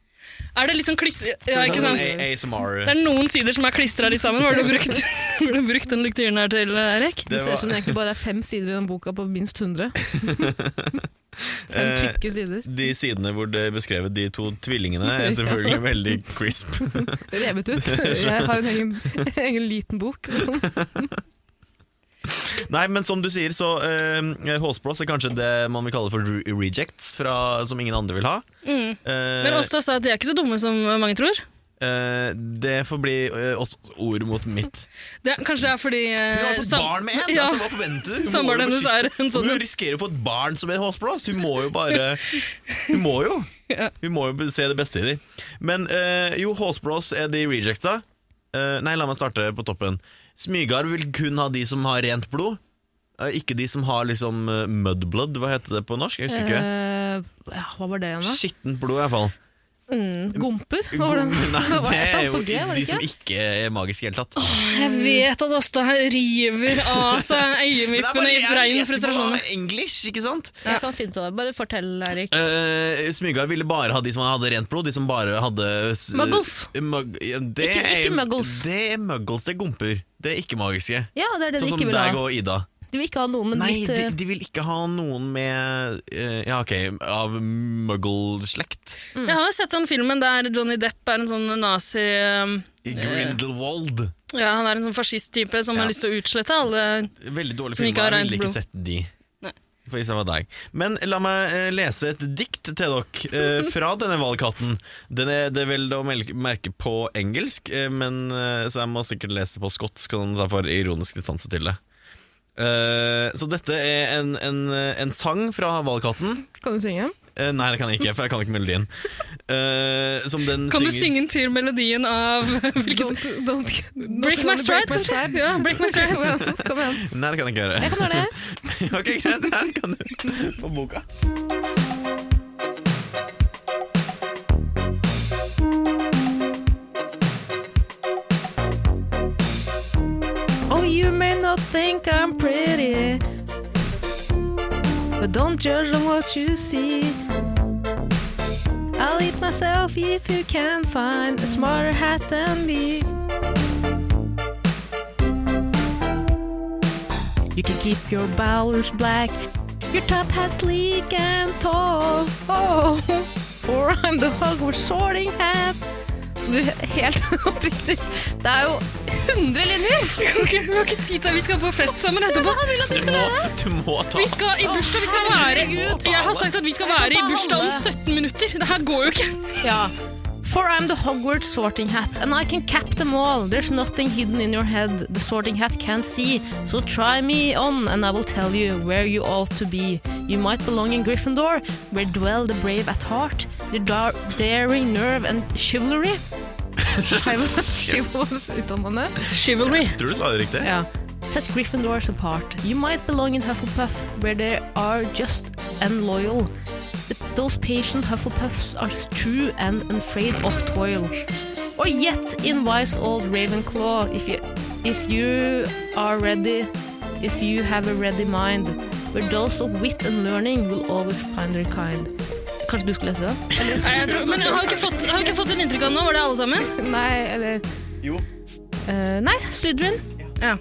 Speaker 4: Er det liksom kliss... Ja, ikke
Speaker 2: Sånn
Speaker 4: sant?
Speaker 2: A- ASMR.
Speaker 4: Det er noen sider som er klistra litt sammen. Var det brukt, <laughs> var det brukt den lektyren her til, eh, Erik?
Speaker 3: Det
Speaker 2: Det
Speaker 3: ser ut
Speaker 2: var-
Speaker 3: som det egentlig bare er fem sider i den boka på minst
Speaker 2: <laughs>
Speaker 3: 100. Fem
Speaker 2: Eh,
Speaker 3: tykke sider.
Speaker 2: De sidene hvor det er beskrevet de to tvillingene,
Speaker 4: <laughs>
Speaker 2: er selvfølgelig veldig crisp.
Speaker 3: Revet
Speaker 2: <laughs>
Speaker 3: ut. Jeg har en egen, <laughs> egen liten bok.
Speaker 2: Nei, men som du sier, så eh, Håsblås er kanskje det man vil kalle for re- rejects, fra, som ingen andre vil ha.
Speaker 4: Mm.
Speaker 2: Eh,
Speaker 4: Men Åsta sa at de er ikke så dumme som mange tror.
Speaker 2: eh, det får bli eh, også ord mot mitt.
Speaker 4: Det er, kanskje det er fordi eh,
Speaker 2: Hun har fått
Speaker 4: sam-
Speaker 2: barn med en!
Speaker 4: Ja,
Speaker 2: Altså, hva forventer du? Hun må jo
Speaker 4: Samboeren hennes
Speaker 2: beskytte-
Speaker 4: er en sånn
Speaker 2: Hun risikerer å få et barn som er håsblås! Hun må jo
Speaker 3: <laughs>
Speaker 2: bare Hun må jo!
Speaker 4: Ja.
Speaker 2: Hun må jo se det beste i dem. Men eh, jo, håsblås er de rejectsa. Eh, nei, la meg starte på toppen. Smygarv vil kun ha de som har rent blod. eh, ikke de som har liksom eh, mudblood, hva heter det på norsk? Jeg husker ikke.
Speaker 3: Eh, ja, hva var det igjen, da?
Speaker 2: Skittent blod, i hvert fall.
Speaker 3: Mm, gomper? <laughs> Hva var den?
Speaker 2: <laughs> Nei,
Speaker 3: Det var
Speaker 2: det
Speaker 3: et
Speaker 2: er
Speaker 3: eller
Speaker 2: jo
Speaker 3: annet på G,
Speaker 2: de
Speaker 3: var det
Speaker 2: som
Speaker 3: ikke?
Speaker 2: ikke er magiske i det hele tatt.
Speaker 4: Jeg vet at Åsta her river av
Speaker 2: <laughs>
Speaker 4: seg
Speaker 2: Men det er
Speaker 4: øyenvippene
Speaker 2: bare-
Speaker 4: i
Speaker 2: jeg
Speaker 4: rein
Speaker 2: leser
Speaker 4: frustrasjon.
Speaker 2: på English, ikke sant?
Speaker 3: Jeg kan finne ut av det. Bare fortell, Eirik.
Speaker 2: Eh, Smygar ville bare ha de som hadde rent blod, de som bare hadde s-
Speaker 3: Muggles.
Speaker 2: Mugg- ja, det
Speaker 3: Ikke- ikke
Speaker 2: er,
Speaker 3: muggles.
Speaker 2: Det er muggles, det er gomper. Det er ikke magiske.
Speaker 3: Ja, det er det de
Speaker 2: Sånn
Speaker 3: ikke
Speaker 2: som
Speaker 3: vil
Speaker 2: deg
Speaker 3: ha.
Speaker 2: og Ida.
Speaker 3: De vil ikke ha noen, men
Speaker 2: Nei,
Speaker 3: litt
Speaker 2: de,
Speaker 3: eh,
Speaker 2: de vil ikke ha noen med eh, Ja, ok, av muggle-slekt.
Speaker 4: Jeg har jo sett den filmen der Johnny Depp er en sånn nazi... eh,
Speaker 2: Grindelwald.
Speaker 4: Ja, han er en sånn fascist-type som
Speaker 2: Ja.
Speaker 4: har lyst til å utslette alle
Speaker 2: Veldig dårlig
Speaker 4: Som
Speaker 2: film.
Speaker 4: ikke har
Speaker 2: Jeg
Speaker 4: rent
Speaker 2: ville ikke
Speaker 4: blod.
Speaker 2: sett de.
Speaker 4: Nei.
Speaker 2: For hvis jeg var deg. Men la meg eh, lese et dikt til dere
Speaker 4: <laughs>
Speaker 2: eh, fra denne valgkatten. Den er, det er vel å mel- merke på engelsk, eh, men, eh, så jeg må sikkert lese på skotsk, og derfor ironisk distanse til det. Eh, så dette er en, en, eh, en sang fra valgkatten.
Speaker 3: Kan du synge?
Speaker 2: Eh, nei, det kan jeg ikke, for jeg kan ikke melodien. Eh, som den
Speaker 4: Kan du
Speaker 2: synger-
Speaker 4: synge den til melodien av
Speaker 2: <laughs>
Speaker 4: hvilken
Speaker 3: Don't, don't, don't
Speaker 4: Break My
Speaker 3: wanna break
Speaker 4: Stride,
Speaker 3: my
Speaker 4: kanskje?
Speaker 3: stride.
Speaker 4: Ja, Break My Stride.
Speaker 3: <laughs>
Speaker 4: <laughs>
Speaker 3: Kom igjen, Kom igjen.
Speaker 2: Nei, det kan jeg ikke gjøre. <laughs>
Speaker 3: Jeg kan gjøre det.
Speaker 2: ok, greit. Her kan du få boka.
Speaker 3: Oh, you may not think I'm pretty, But don't judge on what you see. I'll eat myself if you can find a smarter hat than me. You can keep your bowlers black, your top hat sleek and tall. Oh, <laughs> for I'm the Hogwarts sorting hat. Så du helt <laughs> oppriktig Det er jo <laughs> 100 linjer!
Speaker 4: Ok, vi har ikke tid til Vi skal på fest sammen etterpå.
Speaker 2: Du må, du må ta
Speaker 4: Vi skal i bursdag. Vi skal være Jeg har sagt at vi skal være i bursdag om 17 minutter. Det her går jo ikke.
Speaker 3: Ja. For I'm the Hogwarts sorting hat, and I can cap them all. There's nothing hidden in your head the sorting hat can't see. So try me on, and I will tell you where you ought to be. You might belong in Gryffindor, where dwell the brave at heart, the dar daring nerve and chivalry. Chivalry.
Speaker 4: Chivalry.
Speaker 2: Tror du sa det riktig?
Speaker 3: Yeah. Set Gryffindors apart. You might belong in Hufflepuff, where they are just and loyal. But those patient Hufflepuffs are true and unafraid of toil. Or yet in wise old Ravenclaw, if you if you are ready, if you have a ready mind, where those of wit and learning will always find their kind. Kanskje du skulle lese det?
Speaker 4: Nei, jeg tror, men jeg har jo ikke fått, jeg har jo ikke fått en inntrykk av det nå. Var det alle sammen?
Speaker 3: Nei, eller
Speaker 6: Jo.
Speaker 3: Eh, Nei, Slytherin.
Speaker 4: Ja.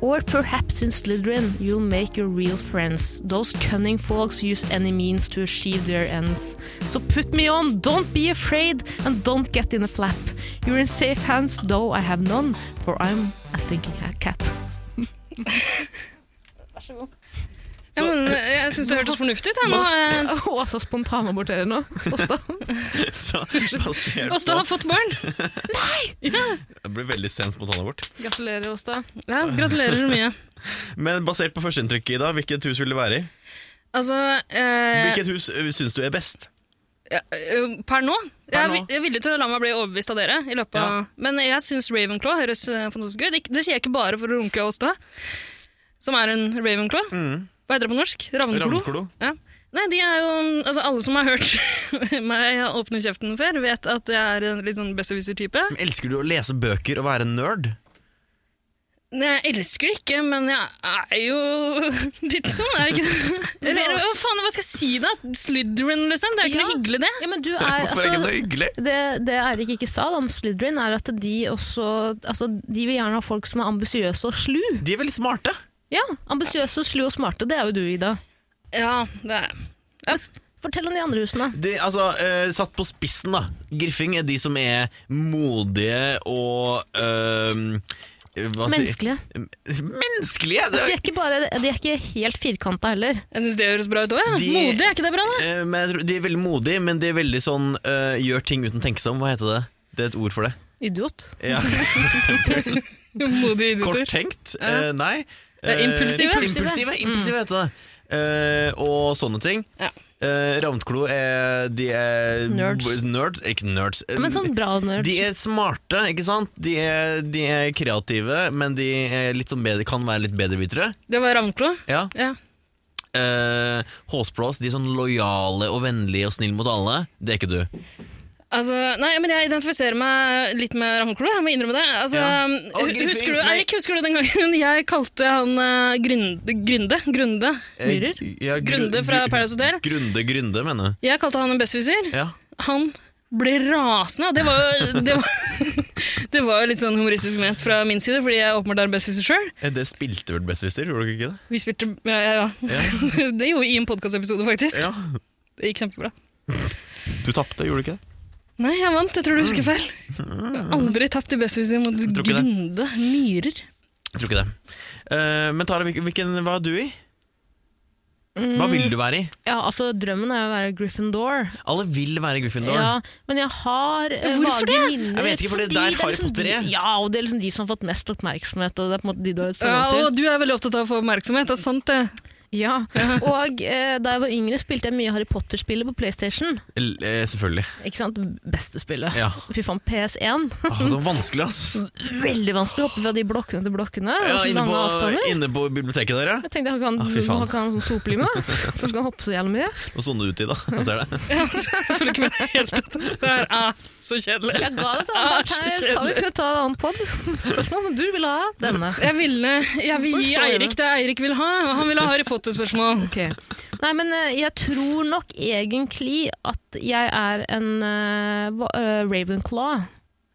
Speaker 3: Or perhaps in Slytherin, you'll make your real friends. Those cunning folks use any means to achieve their ends. So put me on, don't be afraid, and don't get in a flap. You're in safe hands, though I have none, for I'm a thinking hat cap.
Speaker 4: Ja, men eh, jeg syns det hørtes fornuftig ut. jeg. Nå eh. har jeg-
Speaker 3: Åh, så spontanaborterer nå. Ofte.
Speaker 2: <laughs> Så basert
Speaker 4: Åsta har
Speaker 2: på
Speaker 4: fått barn.
Speaker 2: Det blir veldig sent spontanabort.
Speaker 3: <laughs> Gratulerer, Åsta.
Speaker 4: Ja, gratulerer så mye.
Speaker 2: Men basert på førsteinntrykket, Ida, hvilket hus vil du være i?
Speaker 4: Altså eh,
Speaker 2: Hvilket hus ø, syns du er best?
Speaker 4: ja, eh, Per nå jeg er,
Speaker 2: nå.
Speaker 4: vi- jeg er villig til å la meg bli overbevist av dere. I løpet av, Men jeg syns Ravenclaw høres eh, fantastisk ut. Det, det sier jeg ikke bare for å runke av Åsta, som er en Ravenclaw. Hva heter det på norsk? Ravnklo?
Speaker 2: Ravnklo.
Speaker 4: Ja. Nei, de er jo, altså Alle som har hørt <laughs> meg åpne kjeften før, vet at jeg er en litt sånn besserwisser-type.
Speaker 2: Men Elsker du å lese bøker og være nerd?
Speaker 4: Nei, Jeg elsker det ikke, men jeg er jo <laughs> litt sånn, er jeg ikke det? Eller hva faen, hva skal jeg si da? Slytherin, liksom? Det er jo ikke
Speaker 3: Ja.
Speaker 4: noe hyggelig, det.
Speaker 3: Ja, men du er
Speaker 2: Hvorfor er ikke det hyggelig?
Speaker 3: Det, det Eirik ikke sa da om Slytherin, er at de også altså, De vil gjerne ha folk som er ambisiøse og slu.
Speaker 2: De er veldig smarte.
Speaker 3: Ja, ambisiøse, slu og smarte, det er jo du, Ida.
Speaker 4: Ja, det er
Speaker 3: Fortell om de andre husene.
Speaker 2: De, altså, ø, satt på spissen, da. Griffing er de som er modige og ø, hva sier-
Speaker 3: Menneskelige.
Speaker 2: Menneskelige! Det er,
Speaker 3: De er ikke, bare, de er ikke helt firkanta heller.
Speaker 4: Jeg syns det høres bra ut òg. Ja.
Speaker 2: De-
Speaker 4: Modig, er ikke det bra,
Speaker 2: <laughs>
Speaker 4: da?
Speaker 2: Eh, men jeg tror, de er veldig modige, men de er veldig sånn eh, gjør ting uten å tenke seg om. Hva heter det? Det er et ord for det.
Speaker 3: Idiot.
Speaker 2: Ja.
Speaker 4: Modige idioter.
Speaker 2: Korttenkt? Eh, nei.
Speaker 4: Det er
Speaker 2: Eh,
Speaker 4: impulsive.
Speaker 2: impulsive. Impulsive heter det. Eh, og sånne ting.
Speaker 4: Ja.
Speaker 2: Eh, Ravnklo er De er
Speaker 3: Nerds.
Speaker 2: b- Nerd, ikke nerds. Eh,
Speaker 3: Ja, Men sånn bra nerd.
Speaker 2: De er smarte, ikke sant? De er, de er kreative, men de er litt sånn bedre, kan være litt bedrevitere.
Speaker 4: Det var Ravnklo.
Speaker 2: Ja.
Speaker 4: Ja.
Speaker 2: Eh, Håsblås, de er sånn lojale og vennlige og snille mot alle. Det er ikke du.
Speaker 4: Altså, nei, men jeg identifiserer meg litt med Ravnklo, jeg må innrømme det. Altså,
Speaker 2: Ja.
Speaker 4: hu-
Speaker 2: Og Griffin,
Speaker 4: husker, du,
Speaker 2: nei.
Speaker 4: Erik, husker du den gangen <laughs> jeg kalte han uh, Grunde, Grunde? Grunde?
Speaker 2: Eh,
Speaker 4: Myhrer?
Speaker 2: Ja, gru-
Speaker 4: Grunde fra
Speaker 2: gru-
Speaker 4: Paradise Hotel?
Speaker 2: Grunde, Grunde, mener jeg.
Speaker 4: Jeg kalte han en besserwisser.
Speaker 2: Ja.
Speaker 4: Han ble rasende, og det var
Speaker 2: <laughs>
Speaker 4: jo det var, <laughs> det var jo litt sånn humoristisk ment fra min side, fordi jeg åpenbart er besserwisser sjøl.
Speaker 2: Eh, Dere spilte vel Besserwisser, gjorde dere ikke det?
Speaker 4: <laughs> Vi spilte ja, ja, ja. <laughs> Det gjorde vi i en podkastepisode, faktisk. Det gikk kjempebra.
Speaker 2: Du tapte, gjorde du ikke det?
Speaker 4: Nei, jeg vant. Jeg tror du husker feil. Jeg har aldri tapt i besserwisser mot
Speaker 2: tror ikke det.
Speaker 4: Grunde Myhrer.
Speaker 2: Jeg tror ikke det. Eh, men Tara, hvilken, hvilken hva er du i? Hva vil du være i?
Speaker 3: Ja, altså Drømmen er jo å være Gryffindor.
Speaker 2: Alle vil være i Gryffindor.
Speaker 3: Ja, men jeg har eh,
Speaker 4: Hvorfor
Speaker 3: vage minner.
Speaker 2: Jeg vet ikke, for det er der Harry Potter
Speaker 3: liksom de,
Speaker 2: er.
Speaker 3: Ja, og det er liksom de som har fått mest oppmerksomhet. Og det er på en måte de du har et
Speaker 4: Ja,
Speaker 3: forhold til.
Speaker 4: og du er veldig opptatt av å få oppmerksomhet. Det er sant, det.
Speaker 3: Ja, og eh, da jeg var yngre spilte jeg mye Harry Potter-spillet på Playstation.
Speaker 2: L- eh, selvfølgelig.
Speaker 3: Ikke sant? Beste spillet.
Speaker 2: Ja.
Speaker 3: Fy faen, PS1.
Speaker 2: Åh, Ah, det var vanskelig,
Speaker 3: <laughs>
Speaker 2: ass.
Speaker 3: Veldig vanskelig å hoppe fra de blokkene til blokkene. Det
Speaker 2: Ja,
Speaker 3: var så
Speaker 2: inne,
Speaker 3: lange
Speaker 2: på,
Speaker 3: avstander.
Speaker 2: inne på biblioteket der, ja.
Speaker 3: Jeg tenkte jeg kan,
Speaker 2: Ah, fy faen.
Speaker 3: ah, kan sånn sopelime, da. for så kan han hoppe så jævlig mye.
Speaker 2: Nå sånn ut i
Speaker 3: <laughs>
Speaker 2: da. Jeg ser det.
Speaker 4: <laughs> Ja, <laughs> så jeg følger ikke med i det hele tatt. Det her er så kjedelig.
Speaker 3: Jeg ga det til
Speaker 4: Ah,
Speaker 3: han.
Speaker 4: så
Speaker 3: Jeg sa vi
Speaker 4: kjedelig.
Speaker 3: kunne ta en annen pod. Spørsmål, men du ville ha denne.
Speaker 4: Jeg ville, jeg vil gi
Speaker 3: Forstår jeg
Speaker 4: Eirik det Eirik vil ha. og Han vil ha Harry flotte spørsmål.
Speaker 3: Ok. Nei, men eh, jeg tror nok egentlig at jeg er en eh, hva- eh, Ravenclaw.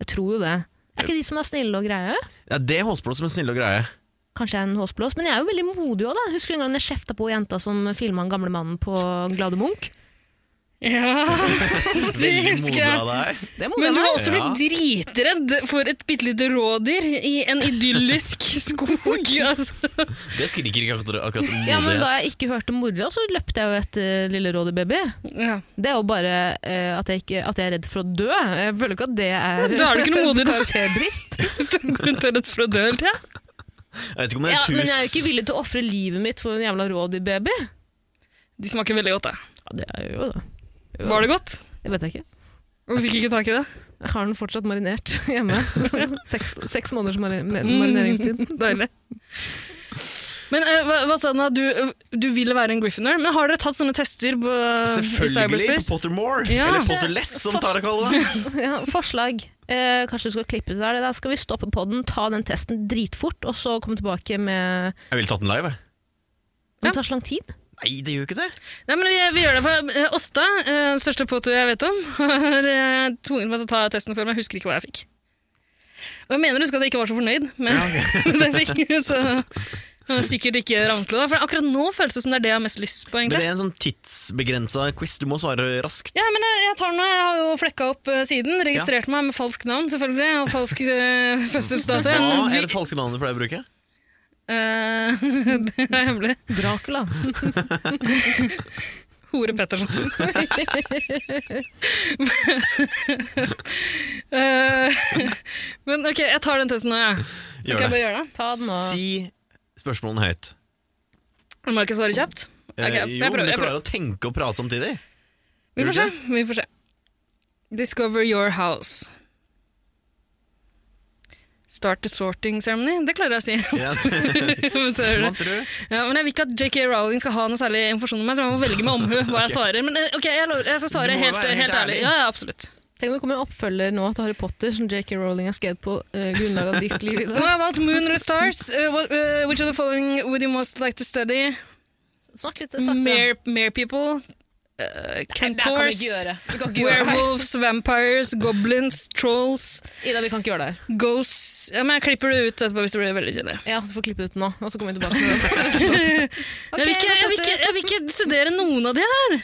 Speaker 3: Jeg tror jo det. Er ikke de som er snille og greie?
Speaker 2: Ja, det er håsblå som en snill og greie.
Speaker 3: Kanskje jeg er en håsblås, men jeg er jo veldig modig òg, da. Husker du en gang jeg kjefta på jenta som filma den gamle mannen på Glade Munch?
Speaker 4: <laughs> Ja, det
Speaker 2: Veldig
Speaker 4: husker
Speaker 2: modig
Speaker 4: jeg.
Speaker 2: av deg.
Speaker 3: Det må
Speaker 4: Men du
Speaker 3: jeg
Speaker 4: har
Speaker 3: være.
Speaker 4: også blitt dritredd for et bitte lite rådyr i en <laughs> idyllisk skog. Altså.
Speaker 2: Det skriker ikke akkurat, akkurat om
Speaker 3: Ja, men Da
Speaker 2: modighet.
Speaker 3: jeg ikke hørte mora, så løpte jeg jo etter lille rådybaby.
Speaker 4: Ja.
Speaker 3: Det er jo bare eh, at, jeg ikke, at jeg er redd for å dø. Jeg føler ikke at det er
Speaker 4: Da er du ikke <laughs> noe modig,
Speaker 3: <laughs>
Speaker 4: da.
Speaker 3: karakterbrist.
Speaker 4: Så går rundt og er redd for å dø hele tida.
Speaker 2: Jeg vet ikke om det er
Speaker 3: Ja,
Speaker 2: et hus
Speaker 3: men jeg er jo ikke villig til å ofre livet mitt for en jævla rådybaby.
Speaker 4: De smaker veldig godt, da.
Speaker 3: Ja, det er jo det.
Speaker 4: Var det godt?
Speaker 3: Jeg vet jeg ikke.
Speaker 4: Og fikk ikke tak i det?
Speaker 3: Jeg har den fortsatt marinert <laughs> hjemme. seks, seks måneders mari- marineringstid. <laughs>
Speaker 4: <laughs> Deilig. Men eh, hva, hva sa den da? Du, eh, du ville være en Gryffindor, men har dere tatt sånne tester på, eh, i
Speaker 2: Selvfølgelig på
Speaker 4: cyberspace?
Speaker 2: Pottermore.
Speaker 4: Ja.
Speaker 2: Eller Potterless, som Tara kaller
Speaker 3: <laughs>
Speaker 2: det.
Speaker 3: Ja, forslag. Eh, kanskje du skal klippe det der. Da skal vi stoppe podden, ta den testen dritfort, og så komme tilbake med
Speaker 2: Jeg ville tatt den live. jeg.
Speaker 3: Men Det tar så lang tid.
Speaker 2: Nei, det gjør jo ikke det.
Speaker 4: Nei, men vi, vi gjør det for eh, Åsta, eh, den største påtur jeg vet om, <laughs> har eh, tvunget meg til å ta testen for meg. Jeg husker ikke hva jeg fikk. Og jeg mener å huske at jeg ikke var så fornøyd med <laughs> det jeg fikk. Så det var sikkert ikke rammeklod. For akkurat nå føles det som det er det jeg har mest lyst på.
Speaker 2: Men
Speaker 4: egentlig.
Speaker 2: det er en sånn tidsbegrensa quiz. Du må svare raskt.
Speaker 4: Ja, men jeg, jeg tar den nå. Jeg har jo flekka opp eh, siden. Registrert meg med falskt navn, selvfølgelig. Og falsk
Speaker 2: <laughs>
Speaker 4: uh, fødselsdato.
Speaker 2: Hva
Speaker 4: Men vi-
Speaker 2: er det falske navnet du pleier å bruke?
Speaker 4: Eh, <laughs> det er hemmelig.
Speaker 3: Dracula.
Speaker 4: Hore
Speaker 2: <laughs>
Speaker 4: Pettersen. Eh, men ok, jeg tar den testen nå, jeg.
Speaker 2: Gjør
Speaker 4: Kan jeg
Speaker 2: det.
Speaker 4: bare gjøre det?
Speaker 3: Ta den og
Speaker 2: Si spørsmålene høyt.
Speaker 4: Må jeg ikke svare kjapt?
Speaker 2: Eh, jo,
Speaker 4: Ok, jeg
Speaker 2: men
Speaker 4: prøver.
Speaker 2: du
Speaker 4: Jeg prøver.
Speaker 2: klarer å tenke og prate samtidig.
Speaker 4: Vi får se. Vi får se. Discover your house. Start the sorting ceremony. Det klarer jeg å si. <laughs>
Speaker 2: Ja, <laughs> det
Speaker 4: Men så hører du.
Speaker 2: man tror.
Speaker 4: Ja, men jeg vil ikke at JK Rowling skal ha noe særlig informasjon om meg, så jeg må velge med omhu hva jeg svarer. Men eh, ok, jeg, lover, jeg skal
Speaker 2: Du
Speaker 4: svare
Speaker 2: må
Speaker 4: helt,
Speaker 2: være
Speaker 4: helt,
Speaker 2: helt
Speaker 4: ærlig.
Speaker 2: ærlig.
Speaker 4: Ja, ja, absolutt.
Speaker 3: Tenk om det kommer en oppfølger nå til Harry Potter som J.K. Rowling har skrevet på eh, grunnlag av ditt liv. i
Speaker 4: Nå
Speaker 3: dag.
Speaker 4: har jeg valgt Moon or Stars. Eh, what, eh, which of the following would you most like to study?
Speaker 3: <laughs> Snakk litt sakte.
Speaker 4: Mere, mere people. eh, centaurs.
Speaker 3: Vi kan ikke gjøre det.
Speaker 4: Werewolves, vampires, goblins, trolls,
Speaker 3: Ida, vi kan ikke gjøre det her.
Speaker 4: ghosts ja, men Jeg klipper det ut etterpå hvis det blir veldig kjedelig.
Speaker 3: Ja, Du får klippe ut nå, og så kommer vi tilbake. <laughs> til det.
Speaker 4: jeg, vil ikke, jeg, vil ikke, jeg vil ikke studere noen av de her.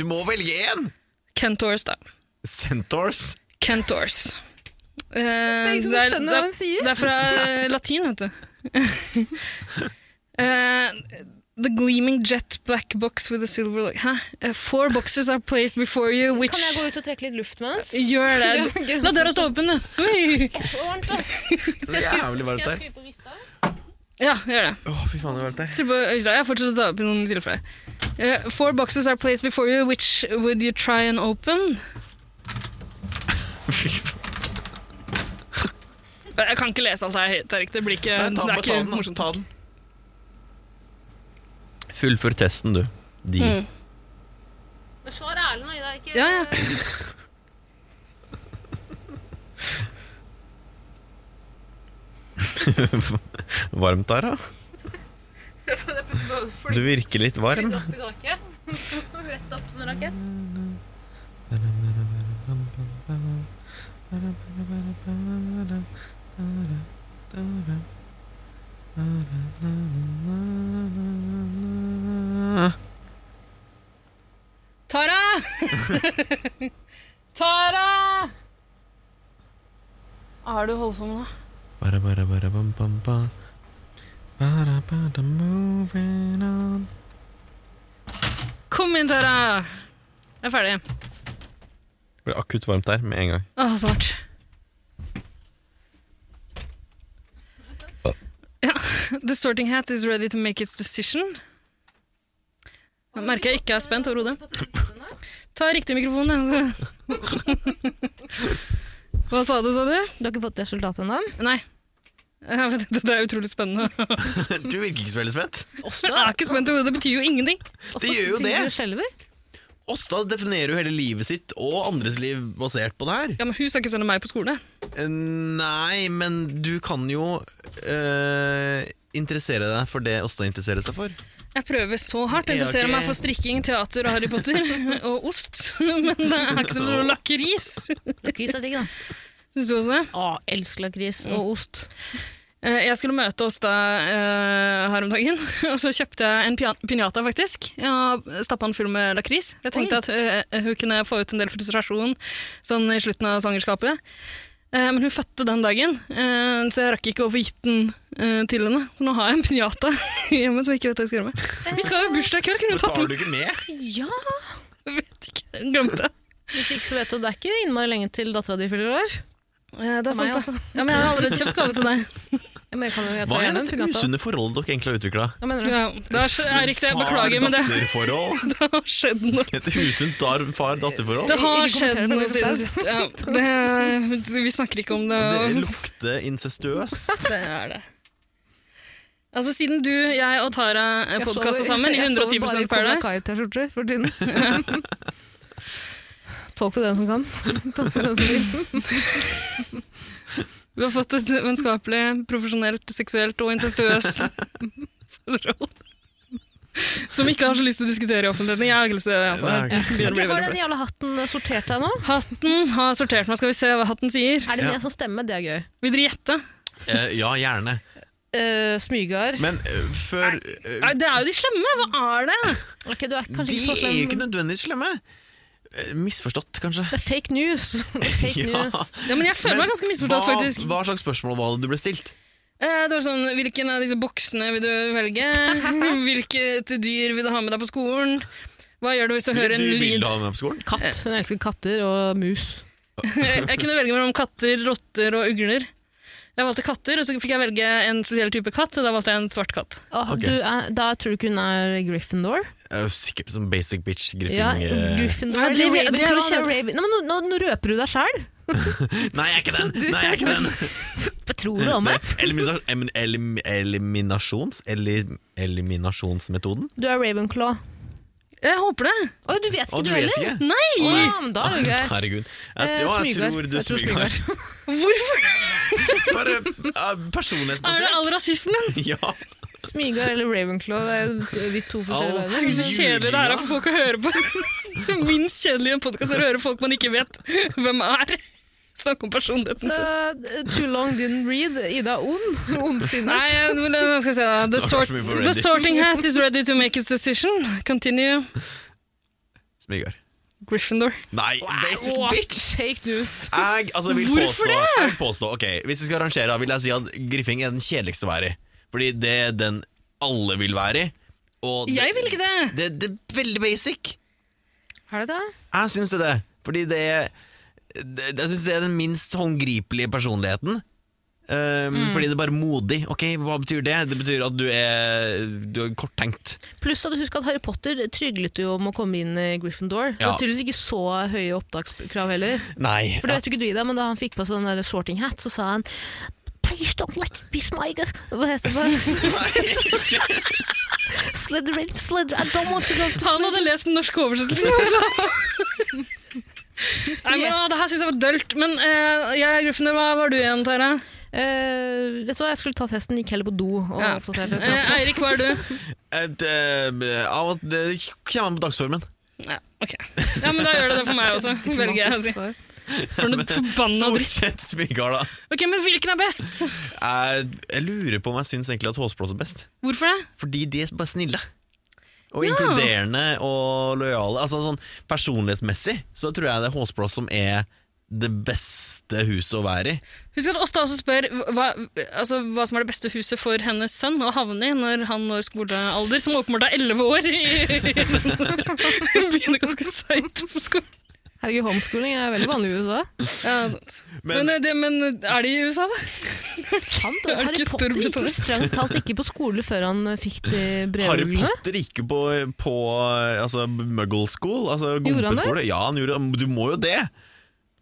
Speaker 2: Du må velge én!
Speaker 4: Centaurs, da.
Speaker 2: Centaurs.
Speaker 4: Centaurs. Eh,
Speaker 3: ingen som liksom, skjønner hva hun sier.
Speaker 4: Det er fra eh, latin, vet du. <laughs> Eh, the gleaming jet black box with a silver look. Hæ? Eh, four boxes are placed before you, which
Speaker 3: Kan jeg gå ut og trekke litt luft mens?
Speaker 4: Gjør det.
Speaker 3: <laughs> Ja,
Speaker 4: La døra stå åpen, du. Oi.
Speaker 2: Det er jævlig varmt her.
Speaker 4: Ja, gjør det.
Speaker 2: Å, fy faen, det er varmt her.
Speaker 4: Se på øyla. Jeg fortsetter å ta opp i noen tilfeller. Eh, four boxes are placed before you, which would you try and open?
Speaker 2: Fy faen.
Speaker 4: Eh, Jeg kan ikke lese alt her høyt, Erik. Det blir ikke,
Speaker 2: Nei, ta,
Speaker 4: det
Speaker 2: bare ta
Speaker 4: er ikke
Speaker 2: den, da.
Speaker 4: morsomt.
Speaker 2: ta den. Fullfør testen, du. De.
Speaker 4: Mm.
Speaker 3: Svar ærlig nå, Ida. Ikke
Speaker 4: Ja, ja.
Speaker 2: Varmt der, da? Du virker litt varm.
Speaker 3: opp i taket. <laughs> Rett opp som en rakett.
Speaker 4: Tara! Tara! Hva har du holdt på med nå?
Speaker 2: Bara, bara, bara, bam, bam, bam. Bara, bara, moving on.
Speaker 4: Kom inn, Tara! Jeg er ferdig.
Speaker 2: Ble akutt varmt der med en gang.
Speaker 4: Åh, svart. Ja. The sorting hat is ready to make its decision. Jeg merker jeg ikke er spent over hodet. Ta riktig mikrofon, da. Hva sa du, sa du?
Speaker 3: Du har ikke fått resultatet ennå?
Speaker 4: Nei. Jeg vet ikke, Det er utrolig spennende.
Speaker 2: Du virker ikke så veldig spent.
Speaker 4: Jeg er ikke spent over hodet, det betyr jo ingenting.
Speaker 2: Det gjør jo det.
Speaker 3: Du skjelver.
Speaker 2: Åsta definerer jo hele livet sitt og andres liv basert på det her.
Speaker 4: Ja, men Hun skal ikke sende meg på skole.
Speaker 2: Eh, Nei, men du kan jo eh, interessere deg for det Åsta interesserer seg for.
Speaker 4: Jeg prøver så hardt.
Speaker 2: Jeg har
Speaker 4: Interesserer
Speaker 2: ikke-
Speaker 4: meg for strikking, teater og Harry Potter <laughs> og ost. <laughs> Men det er ikke som å lakke ris. <laughs>
Speaker 3: Lakris er digg, da.
Speaker 4: Syns du også det?
Speaker 3: Å, elsker lakris og ost.
Speaker 4: Eh, Jeg skulle møte oss da eh, her om dagen, <laughs> og så kjøpte jeg en pinjata faktisk. Og stappa den full med lakris. Jeg tenkte at eh, hun kunne få ut en del frustrasjon sånn i slutten av svangerskapet. Eh, men hun fødte den dagen, eh, så jeg rakk ikke å få gitt den eh, til henne. Så nå har jeg en pinjata <laughs> hjemme som jeg ikke vet hva jeg skal gjøre med. Vi skal jo i bursdag i kveld, kunne hun tatt
Speaker 2: Betaler
Speaker 4: den?
Speaker 2: du ikke med?
Speaker 3: Ja!
Speaker 4: <laughs> Jeg Vet ikke, jeg glemte.
Speaker 3: Hvis ikke så vet du, det er ikke innmari lenge til dattera di fyller år.
Speaker 4: Eh, det er
Speaker 3: Meg
Speaker 4: sant, da. Ja, men jeg har allerede kjøpt gave til deg.
Speaker 3: Men jeg kan jo
Speaker 2: Hva
Speaker 3: ta
Speaker 2: er
Speaker 3: igjen en
Speaker 2: det
Speaker 3: fugata.
Speaker 2: usunne forholdet dere egentlig har utvikla?
Speaker 3: Hva mener du?
Speaker 4: Ja, det er, er riktig, jeg beklager, men det, <laughs>
Speaker 2: Far-datter-forhold?
Speaker 4: det har skjedd noe.
Speaker 2: Et usunt dar- far-datter-forhold?
Speaker 4: Det har
Speaker 3: Ikke
Speaker 4: skjedd
Speaker 3: kommentere det,
Speaker 4: noe
Speaker 3: det er
Speaker 4: siden sist. Ja, det, vi snakker ikke om det.
Speaker 2: Det
Speaker 4: og-
Speaker 2: lukter incestuøst.
Speaker 4: <laughs> Det er det. Altså, siden du, jeg og Tara
Speaker 3: Jeg
Speaker 4: podkasta
Speaker 3: sover-
Speaker 4: sammen i
Speaker 3: <laughs> jeg sover
Speaker 4: 110
Speaker 3: bare i Cobra
Speaker 4: Paradise
Speaker 3: Kai-T-skjorter for <laughs> tiden. Tolk det den som <laughs> kan. Tolk det den som vil.
Speaker 4: Vi har fått et vennskapelig, profesjonelt, seksuelt og incestuøst forhold. Som vi ikke har så lyst til å diskutere i offentligheten. Jeg har ikke lyst til det. i hvert fall.
Speaker 2: Nei,
Speaker 4: Det begynner å bli
Speaker 3: Har den
Speaker 4: veldig flaut.
Speaker 3: jævla hatten sortert deg nå?
Speaker 4: Hatten har sortert meg. Skal vi se hva hatten sier?
Speaker 3: Er det
Speaker 2: Ja.
Speaker 3: mye som stemmer? Det er gøy.
Speaker 4: Vil dere gjette?
Speaker 2: Eh, ja, gjerne.
Speaker 3: Uh, Smygar.
Speaker 2: Men eh, før eh,
Speaker 4: Nei, Det er jo de slemme! Hva er det?
Speaker 3: Ok, du er kanskje
Speaker 2: De
Speaker 3: ikke så
Speaker 2: er jo ikke
Speaker 3: slem.
Speaker 2: nødvendigvis slemme. Eh, Misforstått, kanskje.
Speaker 3: Det er fake news. <laughs> Det er fake
Speaker 2: Ja.
Speaker 3: news.
Speaker 4: Ja, men jeg føler meg
Speaker 2: Men
Speaker 4: ganske misforstått,
Speaker 2: hva,
Speaker 4: faktisk.
Speaker 2: Hva slags spørsmål var det du ble stilt?
Speaker 4: Eh, Det var sånn, Hvilken av disse boksene vil du <laughs> velge? Hvilket dyr vil du ha med deg på skolen? Hva gjør du hvis du hører en
Speaker 2: du vil
Speaker 4: lyd?
Speaker 2: ha med på skolen?
Speaker 3: Katt. Eh, Hun elsker katter og mus.
Speaker 4: <laughs> Jeg kunne velge mellom katter, rotter og ugler. Jeg valgte katter, og så fikk jeg velge en spesiell type katt. og Da valgte jeg en svart katt.
Speaker 3: Åh,
Speaker 2: Ok.
Speaker 3: du er, da tror du ikke hun er Gryffindor?
Speaker 2: Jeg er jo sikkert som basic bitch griffing.
Speaker 3: Ja,
Speaker 2: eh,
Speaker 3: Gryffindor
Speaker 4: Ja, det-
Speaker 3: eller
Speaker 4: det er jo
Speaker 3: Ravenclaw,
Speaker 4: kjempe-
Speaker 3: Raven- Nei, men nå, nå, nå røper du deg sjæl.
Speaker 2: Nei, jeg er ikke den! Nei, jeg er ikke
Speaker 4: <laughs>
Speaker 2: den.
Speaker 3: Hva tror du om meg?
Speaker 2: Det er elimina- em- elim- Eliminasjons... eli- Eliminasjonsmetoden?
Speaker 3: Du er Ravenclaw.
Speaker 4: Jeg håper det!
Speaker 3: Å, du vet ikke
Speaker 2: Å,
Speaker 3: du,
Speaker 2: du vet
Speaker 3: heller?
Speaker 2: ikke?
Speaker 4: Nei!
Speaker 3: Å, ja, men da er det greit.
Speaker 2: Herregud. Jeg,
Speaker 3: Eh,
Speaker 2: ja, jeg
Speaker 3: smyger.
Speaker 2: tror du
Speaker 3: Jeg tror
Speaker 2: smyger.
Speaker 4: Hvorfor
Speaker 2: Bare eh,
Speaker 4: er det
Speaker 2: personlighetsbasert.
Speaker 4: all rasismen?
Speaker 2: <laughs> Ja.
Speaker 3: Smygar eller Ravenclaw, det er jo de to forskjellige
Speaker 2: Au.
Speaker 4: Herregud,
Speaker 3: verdener.
Speaker 4: så kjedelig det her er for folk å høre på. <laughs> Det Minst kjedelige podkast er å høre folk man ikke vet hvem er. Snakke om personligheten
Speaker 3: Så
Speaker 4: sin.
Speaker 3: uh, Too Long Didn't Read, Ida Ond. Ondsinnet.
Speaker 4: Nei, jeg- men hva skal jeg si da? The,
Speaker 2: Snakker
Speaker 4: sort,
Speaker 2: så mye på
Speaker 4: the
Speaker 2: Reddit.
Speaker 4: sorting hat is ready to make its decision. Continue.
Speaker 2: Smyger.
Speaker 4: Gryffindor.
Speaker 2: Nei, basic
Speaker 3: What?
Speaker 2: bitch!
Speaker 3: Fake news.
Speaker 2: Jeg, altså, vil
Speaker 4: Hvorfor
Speaker 2: påstå, Jeg vil påstå, ok, Hvis vi skal rangere, da vil jeg si at griffing er den kjedeligste å være i. Fordi det er den alle vil være i. Og
Speaker 4: Jeg vil ikke det!
Speaker 2: Det, det er veldig basic.
Speaker 3: Er det det?
Speaker 2: Jeg syns det er det. Fordi det er det, Jeg syns det er den minst håndgripelige personligheten. Ehm, Fordi det er bare modig. Ok, Hva betyr det? Det betyr at du er, du er korttenkt.
Speaker 3: Pluss at husk at Harry Potter tryglet jo om å komme inn i Gryffindor. Det
Speaker 2: Ja.
Speaker 3: var tydeligvis ikke så høye opptakskrav heller.
Speaker 2: Nei.
Speaker 3: For det vet jo ikke du, Ida, men da han fikk på seg den der sorting hat, så sa han Please don't let me be Smyger. Hva heter det?
Speaker 4: <laughs>
Speaker 3: Slytherin, Slytherin, I don't want to go to
Speaker 4: Han hadde lest den norske oversettelsen. Altså. Nei, men, å, det her syns jeg var dølt. Men eh, jeg er Gryffindor. Hva var du igjen, Tara?
Speaker 3: Eh, vet du hva, jeg skulle ta testen, gikk heller på do og
Speaker 4: Ja.
Speaker 3: oppdaterte testen.
Speaker 4: Eh, Eirik, hva er du?
Speaker 2: Et, eh, av at det kommer an på <laughs> dagsformen.
Speaker 4: Ja, ok. ja, men da gjør det det for meg
Speaker 3: <laughs>
Speaker 4: også. Velger jeg å si.
Speaker 3: Svar.
Speaker 4: For noe forbanna
Speaker 2: Stort
Speaker 4: dritt.
Speaker 2: sett smyghard, da.
Speaker 4: Ok, Men hvilken er best?
Speaker 2: Jeg, jeg lurer på om jeg syns egentlig at Håsblås er best.
Speaker 4: Hvorfor det?
Speaker 2: Fordi de er bare snille. Og inkluderende og lojale. Altså sånn Personlighetsmessig så tror jeg det er Håsblås som er det beste huset å være i.
Speaker 4: Husk at Åsta også spør hva, altså, hva som er det beste huset for hennes sønn å havne i når han når skolealder, som åpenbart er 11 år. <laughs> Begynner ganske seint på skolen.
Speaker 3: Herregud, homeschooling er veldig vanlig i USA.
Speaker 4: Ja, sant.
Speaker 2: Men-
Speaker 4: Men, eh, det, men er de i USA,
Speaker 3: <laughs>
Speaker 4: da?
Speaker 3: Sant, og
Speaker 4: Er det
Speaker 3: Harry
Speaker 4: ikke
Speaker 3: Potter gikk jo
Speaker 4: Storbritannia?
Speaker 3: strengt talt ikke på skole før han fikk de
Speaker 2: Harry
Speaker 3: brevrullene.
Speaker 2: Potter gikk jo på, på altså, Muggle School, altså
Speaker 3: Gjorde han det?
Speaker 2: gompeskole. Ja, han gjorde Du må jo det!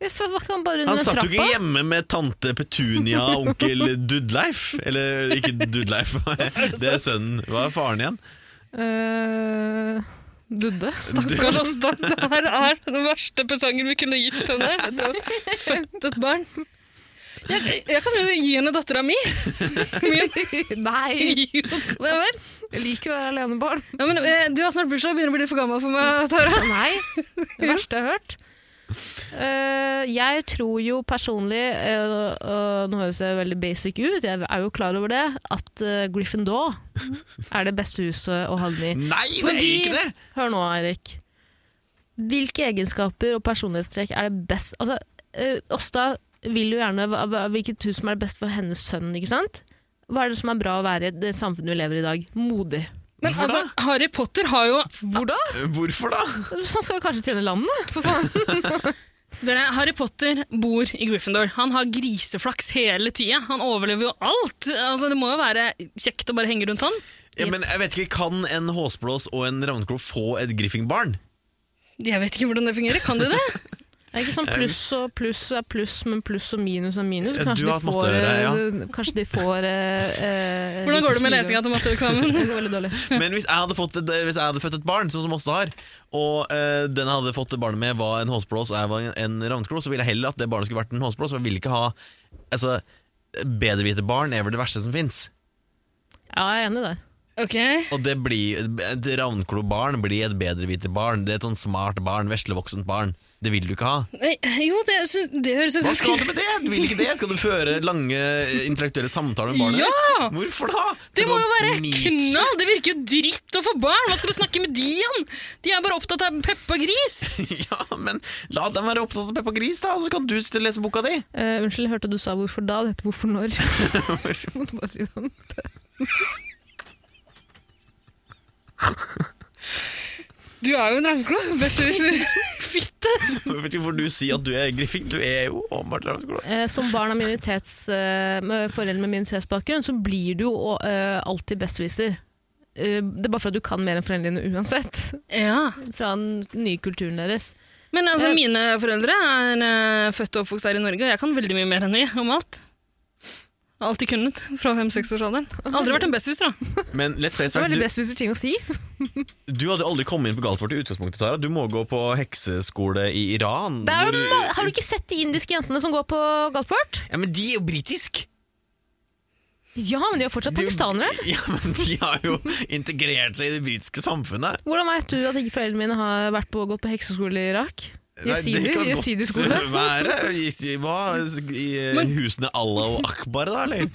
Speaker 3: Hvorfor var ikke han bare
Speaker 2: Han
Speaker 3: under den
Speaker 2: satt jo
Speaker 3: trappa?
Speaker 2: ikke hjemme med tante Petunia og onkel Dudleif. Eller ikke Dudleif, <laughs> det er sønnen. Hva er faren igjen?
Speaker 3: Eh, Dudde.
Speaker 4: <laughs> Stakkars Åsta, det her er den verste presangen vi kunne gitt henne. Det var Født et barn. Jeg, jeg kan jo gi henne dattera mi. Min.
Speaker 3: Nei! <laughs>
Speaker 4: Gi henne datteren min.
Speaker 3: Jeg liker å være alenebarn.
Speaker 4: Ja, men, eh, du har snart bursdag, begynner å bli litt for gammel for meg, Tara.
Speaker 3: Nei, <laughs> det verste jeg har hørt. Eh, jeg tror jo personlig, eh, og nå høres jeg veldig basic ut, jeg er jo klar over det, at uh, Gryffindor er det beste huset å havne i.
Speaker 2: Nei, det er
Speaker 3: Fordi-
Speaker 2: ikke det!
Speaker 3: Hør nå, Eirik. Hvilke egenskaper og personlighetstrekk er det best Altså, eh, Åsta vil jo gjerne hva- hva- hvilket hus som er det best for hennes sønn, ikke sant? Hva er det som er bra å være i det samfunnet vi lever i i dag? Modig.
Speaker 4: Men
Speaker 2: Hvorfor
Speaker 4: altså, Harry Potter har jo
Speaker 3: Hvor da?
Speaker 2: Hvorfor da?
Speaker 3: Han sånn skal jo kanskje tjene landet, for faen.
Speaker 4: Dere, Harry Potter bor i Gryffindor. Han har griseflaks hele tida. Han overlever jo alt. Altså, det må jo være kjekt å bare henge rundt han.
Speaker 2: Ja, men jeg vet ikke, Kan en håsblås og en ravneklo få et griffingbarn?
Speaker 4: Jeg vet ikke hvordan det fungerer. Kan de det?
Speaker 3: Det er ikke
Speaker 2: Eh,
Speaker 3: sånn pluss og pluss er pluss, men pluss og minus er minus.
Speaker 2: Ja,
Speaker 3: Kanskje
Speaker 2: Eh, du har hatt
Speaker 3: de får,
Speaker 2: matteøre, ja.
Speaker 3: eh, kanskje de får eh, eh,
Speaker 4: Hvordan går det med
Speaker 3: lite
Speaker 4: lesinga
Speaker 3: smilere.
Speaker 4: til matteeksamen?
Speaker 3: Det går veldig dårlig.
Speaker 2: Men hvis jeg hadde, fått, et- hvis jeg hadde født et barn, sånn som Åsta har, og eh, den jeg hadde fått barnet med var en håsblås og jeg var en ravneklo, så ville jeg heller at det barnet skulle vært en håsblås. For jeg ville ikke ha altså, Bedrevitebarn er vel det verste som fins.
Speaker 3: Ja, jeg er enig der.
Speaker 4: Ok,
Speaker 2: Og det blir, et ravnklobarn blir et bedrevitebarn. Det er et sånn smart barn, veslevoksent barn. Det vil du ikke ha.
Speaker 4: Nei, Jo, det, jeg synes- det høres jo
Speaker 2: Hva skal du med det? Du vil ikke det? Skal du føre lange eh, intellektuelle samtaler med barnet?
Speaker 4: Ja!
Speaker 2: ditt? Hvorfor da?
Speaker 4: Det
Speaker 2: Skal
Speaker 4: må
Speaker 2: du
Speaker 4: jo
Speaker 2: ha
Speaker 4: være
Speaker 2: Nietzsche?
Speaker 4: knall! Det virker jo dritt å få barn! Hva skal du snakke med de om? De er bare opptatt av Peppa
Speaker 2: <laughs>
Speaker 4: Gris.
Speaker 2: <laughs> Ja, men la dem være opptatt av Peppa Gris, da, og så kan du st- lese boka di.
Speaker 3: Eh, unnskyld, jeg hørte du sa 'hvorfor da'. Det heter 'hvorfor
Speaker 2: <laughs>
Speaker 3: når'. Jeg måtte bare si det.
Speaker 4: Du er jo en ravnklo. Best hvis Fitte.
Speaker 2: Jeg <laughs> vet ikke hvorfor du sier at du er griffing. Du er jo åpenbart ravnskole.
Speaker 3: Eh, som barn av minoritets, eh, med foreldre med minoritetsbakgrunn, så blir du jo eh, alltid besteviser. Eh, det er bare for at du kan mer enn foreldrene dine uansett.
Speaker 4: Ja.
Speaker 3: Fra den nye kulturen deres.
Speaker 4: Men altså,
Speaker 3: Eh,
Speaker 4: mine foreldre er eh, født og oppvokst her i Norge, og jeg kan veldig mye mer enn de om alt. Har Alltid kunnet, fra fem-seksårsalderen. Aldri vært en besteviser, da.
Speaker 2: Men let's face
Speaker 3: Det
Speaker 2: fact,
Speaker 3: er veldig
Speaker 2: du,
Speaker 3: besteviser ting å si.
Speaker 2: du hadde aldri kommet inn på Galtvort i utgangspunktet, Tara. Du må gå på hekseskole i Iran.
Speaker 3: Det er, jo
Speaker 2: hvor-
Speaker 3: ma- har du ikke sett de indiske jentene som går på Galtvort?
Speaker 2: ja, men de er jo britiske!
Speaker 3: Ja, men de er fortsatt
Speaker 2: Det er jo-
Speaker 3: pakistanere.
Speaker 2: <laughs> Ja, men de har jo integrert seg i det britiske samfunnet.
Speaker 3: Hvordan vet du at ikke foreldrene mine har vært på, gått på hekseskole i Irak?
Speaker 2: Nei, det
Speaker 3: Jesider?
Speaker 2: kan godt eh,
Speaker 3: Jesiderskole?
Speaker 2: <laughs> Være i, i, hva, i eh,
Speaker 4: Men-
Speaker 2: husene Allah og Akbar, da, eller?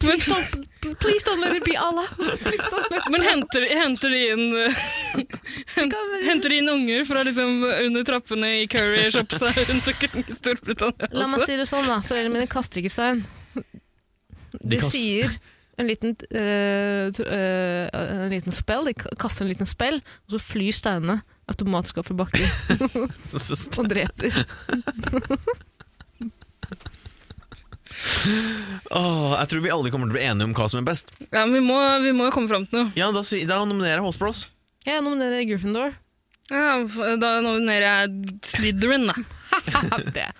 Speaker 3: Please don't, please don't let it be Allah! Please don't let
Speaker 4: Men henter, henter, de inn, eh, henter de inn unger fra liksom under trappene i curry shops her rundt omkring i Storbritannia
Speaker 3: La meg
Speaker 4: også?
Speaker 3: si det sånn, da. Foreldrene mine kaster ikke seg. De
Speaker 2: kast-
Speaker 3: sier en liten, eh, tr- eh, en liten spell, de k- kaster en liten spell, og så flyr steinene automatisk opp fra
Speaker 2: <laughs>
Speaker 3: bakken
Speaker 2: Så, så, så.
Speaker 3: og dreper.
Speaker 2: Åh, jeg tror vi alle kommer til å bli enige om hva som er best.
Speaker 4: Ja, men vi må, vi må jo komme fram til noe.
Speaker 2: Ja, Da, si- da nominerer jeg Håsblås.
Speaker 3: Jeg nominerer Gryffindor.
Speaker 4: Ja, f- da nominerer jeg Slytherin, da.
Speaker 3: Haha, det.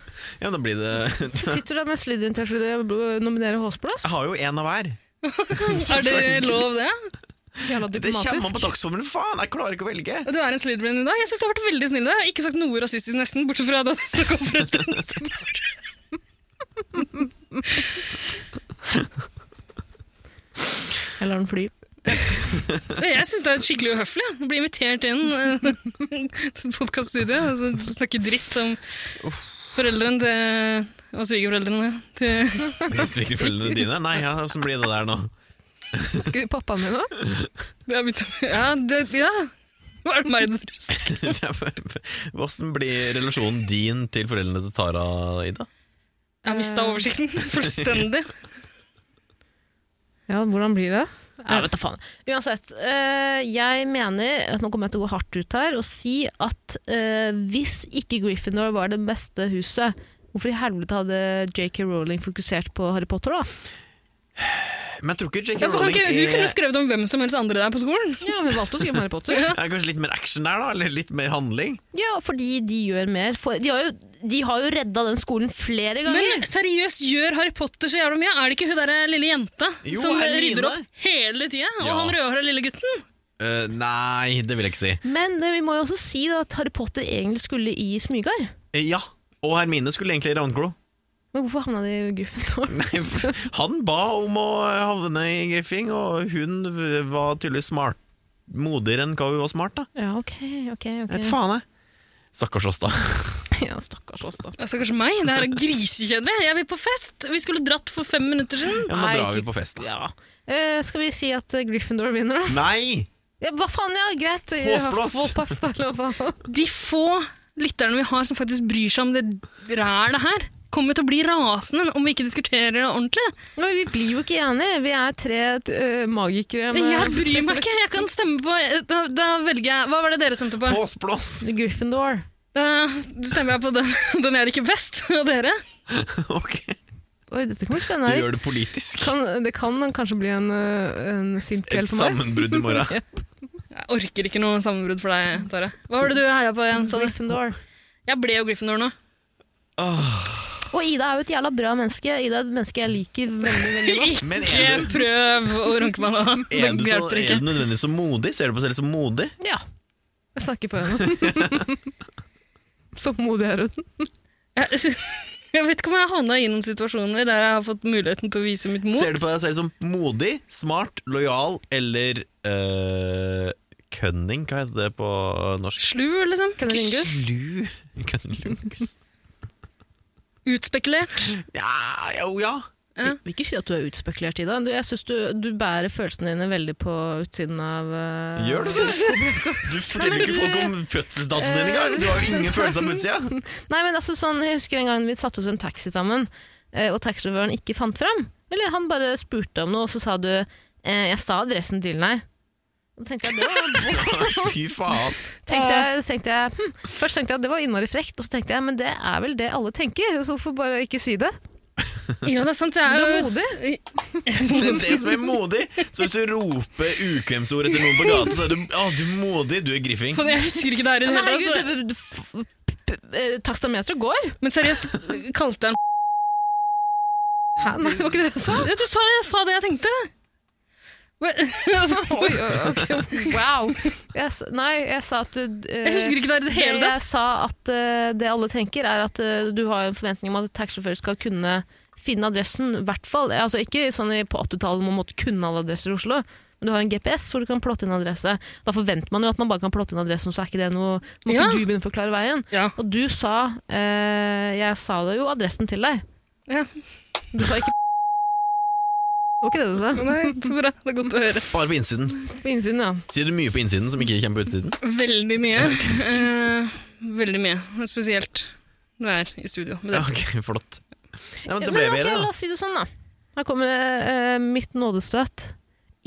Speaker 2: Ja, da blir det <laughs>
Speaker 3: Så sitter du der med Slytherin-T-skjorte og nominerer Håsblås.
Speaker 2: Jeg har jo én av hver.
Speaker 4: Er det lov, det?
Speaker 3: Jævla
Speaker 2: Det kommer an på
Speaker 3: diplomatisk.
Speaker 2: dagsformen, faen! Jeg klarer ikke å velge.
Speaker 4: Og du er en Slytherin i dag. Jeg synes du har vært veldig snill. i dag. Jeg har ikke sagt noe rasistisk nesten, bortsett fra da du snakket om foreldrene dine.
Speaker 3: Jeg lar den fly.
Speaker 4: Jeg syns det er skikkelig uhøflig. jeg. Å bli invitert inn eh, <laughs> til et podkaststudio og så snakke dritt om foreldrene til Og svigerforeldrene til
Speaker 2: Svigerforeldrene dine? Nei, ja, åssen blir det der nå? <laughs>
Speaker 3: Gud, Pappaen min, da?
Speaker 4: det er mitt, Ja, det, ja. Hva er det meg dere sier?
Speaker 2: Åssen blir relasjonen din til foreldrene til Tara, Ida?
Speaker 4: Jeg har mista oversikten <laughs> fullstendig.
Speaker 3: Ja, hvordan blir det? Jeg vet da faen. Uansett, øh, jeg mener at Nå kommer jeg til å gå hardt ut her og si at øh, hvis ikke Gryffindor var det beste huset, hvorfor i helvete hadde JK Rowling fokusert på Harry Potter, da?
Speaker 2: Men jeg tror ikke J.K.
Speaker 4: Ja, for kan
Speaker 2: Rowling
Speaker 4: ikke, hun kunne
Speaker 2: er
Speaker 4: skrevet om hvem som helst andre der på skolen.
Speaker 3: Ja, Hun valgte å skrive om Harry Potter.
Speaker 2: er kanskje litt mer action der, da? Eller litt mer handling?
Speaker 3: <laughs> Ja, fordi de gjør mer. For, de, har jo, de har jo redda den skolen flere ganger.
Speaker 4: Men seriøst, gjør Harry Potter så jævla mye? Er det ikke hun der eh, lille jenta
Speaker 2: Jo,
Speaker 4: som
Speaker 2: Hermine.
Speaker 4: rydder opp hele tida? Og
Speaker 2: Ja.
Speaker 4: han rødhåra lille gutten?
Speaker 2: Eh, nei, det vil jeg ikke si.
Speaker 3: Men, øh, vi må jo også si da, at Harry Potter egentlig skulle i Smygard.
Speaker 4: <laughs>
Speaker 2: Eh, ja. Og Hermine skulle egentlig i ravnklo.
Speaker 3: Men hvorfor havna de i Gryffindor? <laughs>
Speaker 2: Nei, for Han ba om å havne i griffing, og hun v- var tydeligvis smart modigere enn hva hun var smart. da
Speaker 3: Ja, ok, ok,
Speaker 2: Jeg
Speaker 3: ok.
Speaker 2: vet faen, jeg. Stakkars oss, da.
Speaker 3: Ja, stakkars oss, da.
Speaker 4: Altså, kanskje meg? Det her er grisekjedelig. Jeg vil på fest! Vi skulle dratt for fem minutter siden.
Speaker 2: Ja, men da
Speaker 3: Nei,
Speaker 2: drar vi
Speaker 3: ikke-
Speaker 2: på fest, da.
Speaker 3: Ja. Eh, skal vi si at eh, Gryffindor vinner, da?
Speaker 2: Nei!
Speaker 3: Ja, hva faen, ja, greit.
Speaker 2: Håsblås.
Speaker 3: Hufflepuff, da, eller hva faen.
Speaker 4: De få lytterne vi har som faktisk bryr seg om det rælet her, kommer til å bli rasende om vi ikke diskuterer det ordentlig.
Speaker 3: Men vi blir jo ikke enige. Vi er tre eh, magikere. med-
Speaker 4: Jeg bryr meg ikke! Jeg kan stemme på Da, da velger jeg Hva var det dere stemte på?
Speaker 2: Påsblås! <laughs>
Speaker 3: Gryffindor.
Speaker 4: Da stemmer jeg på den, <laughs> den jeg liker best av dere.
Speaker 2: Ok,
Speaker 3: Oi, dette kan bli
Speaker 2: du
Speaker 3: spennende.
Speaker 2: gjør det politisk.
Speaker 3: Kan, det kan kanskje bli en, eh, en sint kveld
Speaker 2: Et
Speaker 3: for meg.
Speaker 2: sammenbrudd i morgen.
Speaker 4: Jeg orker ikke noe sammenbrudd for deg, Tare. Hva var det du heia på igjen? sa du?
Speaker 3: Gryffindor.
Speaker 4: Jeg ble jo Gryffindor nå.
Speaker 3: Og Ida er jo et jævla bra menneske. Ida er et menneske jeg liker veldig veldig godt.
Speaker 2: Men
Speaker 4: Ikke
Speaker 2: er du,
Speaker 4: prøv å runke meg
Speaker 2: <laughs>
Speaker 4: nå. Det
Speaker 2: er, du så,
Speaker 4: hjelper
Speaker 2: er
Speaker 4: ikke.
Speaker 2: du nødvendigvis så modig? Ser du på deg selv som modig?
Speaker 3: <laughs> Ja. Jeg snakker for henne. <laughs> Så modig er hun.
Speaker 4: Jeg, <laughs> jeg vet ikke om jeg har havna i noen situasjoner der jeg har fått muligheten til å vise mitt mot.
Speaker 2: Ser du på deg selv som modig, smart, lojal eller eh, cunning? Hva heter det på norsk?
Speaker 4: Slu, liksom.
Speaker 3: Kan jeg ringe?
Speaker 2: Slu <laughs> Cunnilingus?
Speaker 4: Utspekulert.
Speaker 2: Ja, jo, ja.
Speaker 4: Ja.
Speaker 3: Vil ikke si at du er utspekulert, Ida. Du, jeg synes du, du bærer følelsene dine veldig på utsiden av eh,
Speaker 2: Gjør du det? Du forteller
Speaker 3: Nei, men
Speaker 2: ikke folk om fødselsdatoen din engang! Du har jo ingen følelse av utsida!
Speaker 3: Nei, men altså sånn, Jeg husker en gang vi satte oss i en taxi sammen, eh, og taxisjåføren ikke fant fram. Eller han bare spurte om noe, og så sa du eh, 'jeg sa adressen til deg'. Og da tenkte jeg, det
Speaker 4: <laughs>
Speaker 3: var,
Speaker 2: Fy faen.
Speaker 3: tenkte jeg, tenkte jeg hm. Først tenkte jeg at det var innmari frekt, og så tenkte jeg men det er vel det alle tenker, så hvorfor bare ikke si det?
Speaker 4: Ja, det er sant.
Speaker 3: Du
Speaker 4: Jeg
Speaker 3: er
Speaker 4: er jo
Speaker 3: modig.
Speaker 2: Det er det som er modig! Så hvis du roper ukvemsord etter noen på gata, så er du, ah, du er modig, du er griffing.
Speaker 4: <laughs> Faen, Jeg husker ikke det her i det
Speaker 3: Men
Speaker 4: hele tatt. altså.
Speaker 3: herregud, det- det- f- p- eh, takstameteret går!
Speaker 4: Men seriøst, kalte jeg den Hæ?
Speaker 3: Nei, det var ikke det jeg sa.
Speaker 4: Ja, du sa jeg sa det jeg tenkte. Hva- altså,
Speaker 3: <laughs> Oi, ok,
Speaker 4: <laughs>
Speaker 3: wow. Jeg, s- nei, jeg sa at du eh,
Speaker 4: Jeg husker ikke det her i det hele
Speaker 3: Det
Speaker 4: tatt.
Speaker 3: jeg sa at eh, det alle tenker, er at eh, du har en forventning om at taxisjåfører skal kunne finne adressen, i hvert fall. Altså, ikke sånn i- på 80-tallet man måtte kunne alle adresser i Oslo, men du har en GPS hvor du kan plotte inn adresse. Da forventer man jo at man bare kan plotte inn adressen, så er ikke det noe Må ikke
Speaker 4: Ja.
Speaker 3: du begynne å forklare veien?
Speaker 4: Ja.
Speaker 3: Og du sa eh, Jeg sa det jo adressen til deg.
Speaker 4: Ja.
Speaker 3: Du sa ikke Det var ikke det du sa.
Speaker 4: Nei, så bra. Det er godt å høre.
Speaker 2: Bare på innsiden.
Speaker 3: På innsiden, ja.
Speaker 2: Sier du mye på innsiden som ikke kommer på utsiden?
Speaker 4: Veldig mye. Eh, veldig mye. Spesielt når jeg er i studio. Men
Speaker 2: Ja,
Speaker 4: det
Speaker 2: ok, flott. Ja, men det ble
Speaker 3: ok,
Speaker 2: bedre,
Speaker 3: La
Speaker 2: da.
Speaker 3: oss si det sånn, da. Her kommer eh, mitt nådestøt.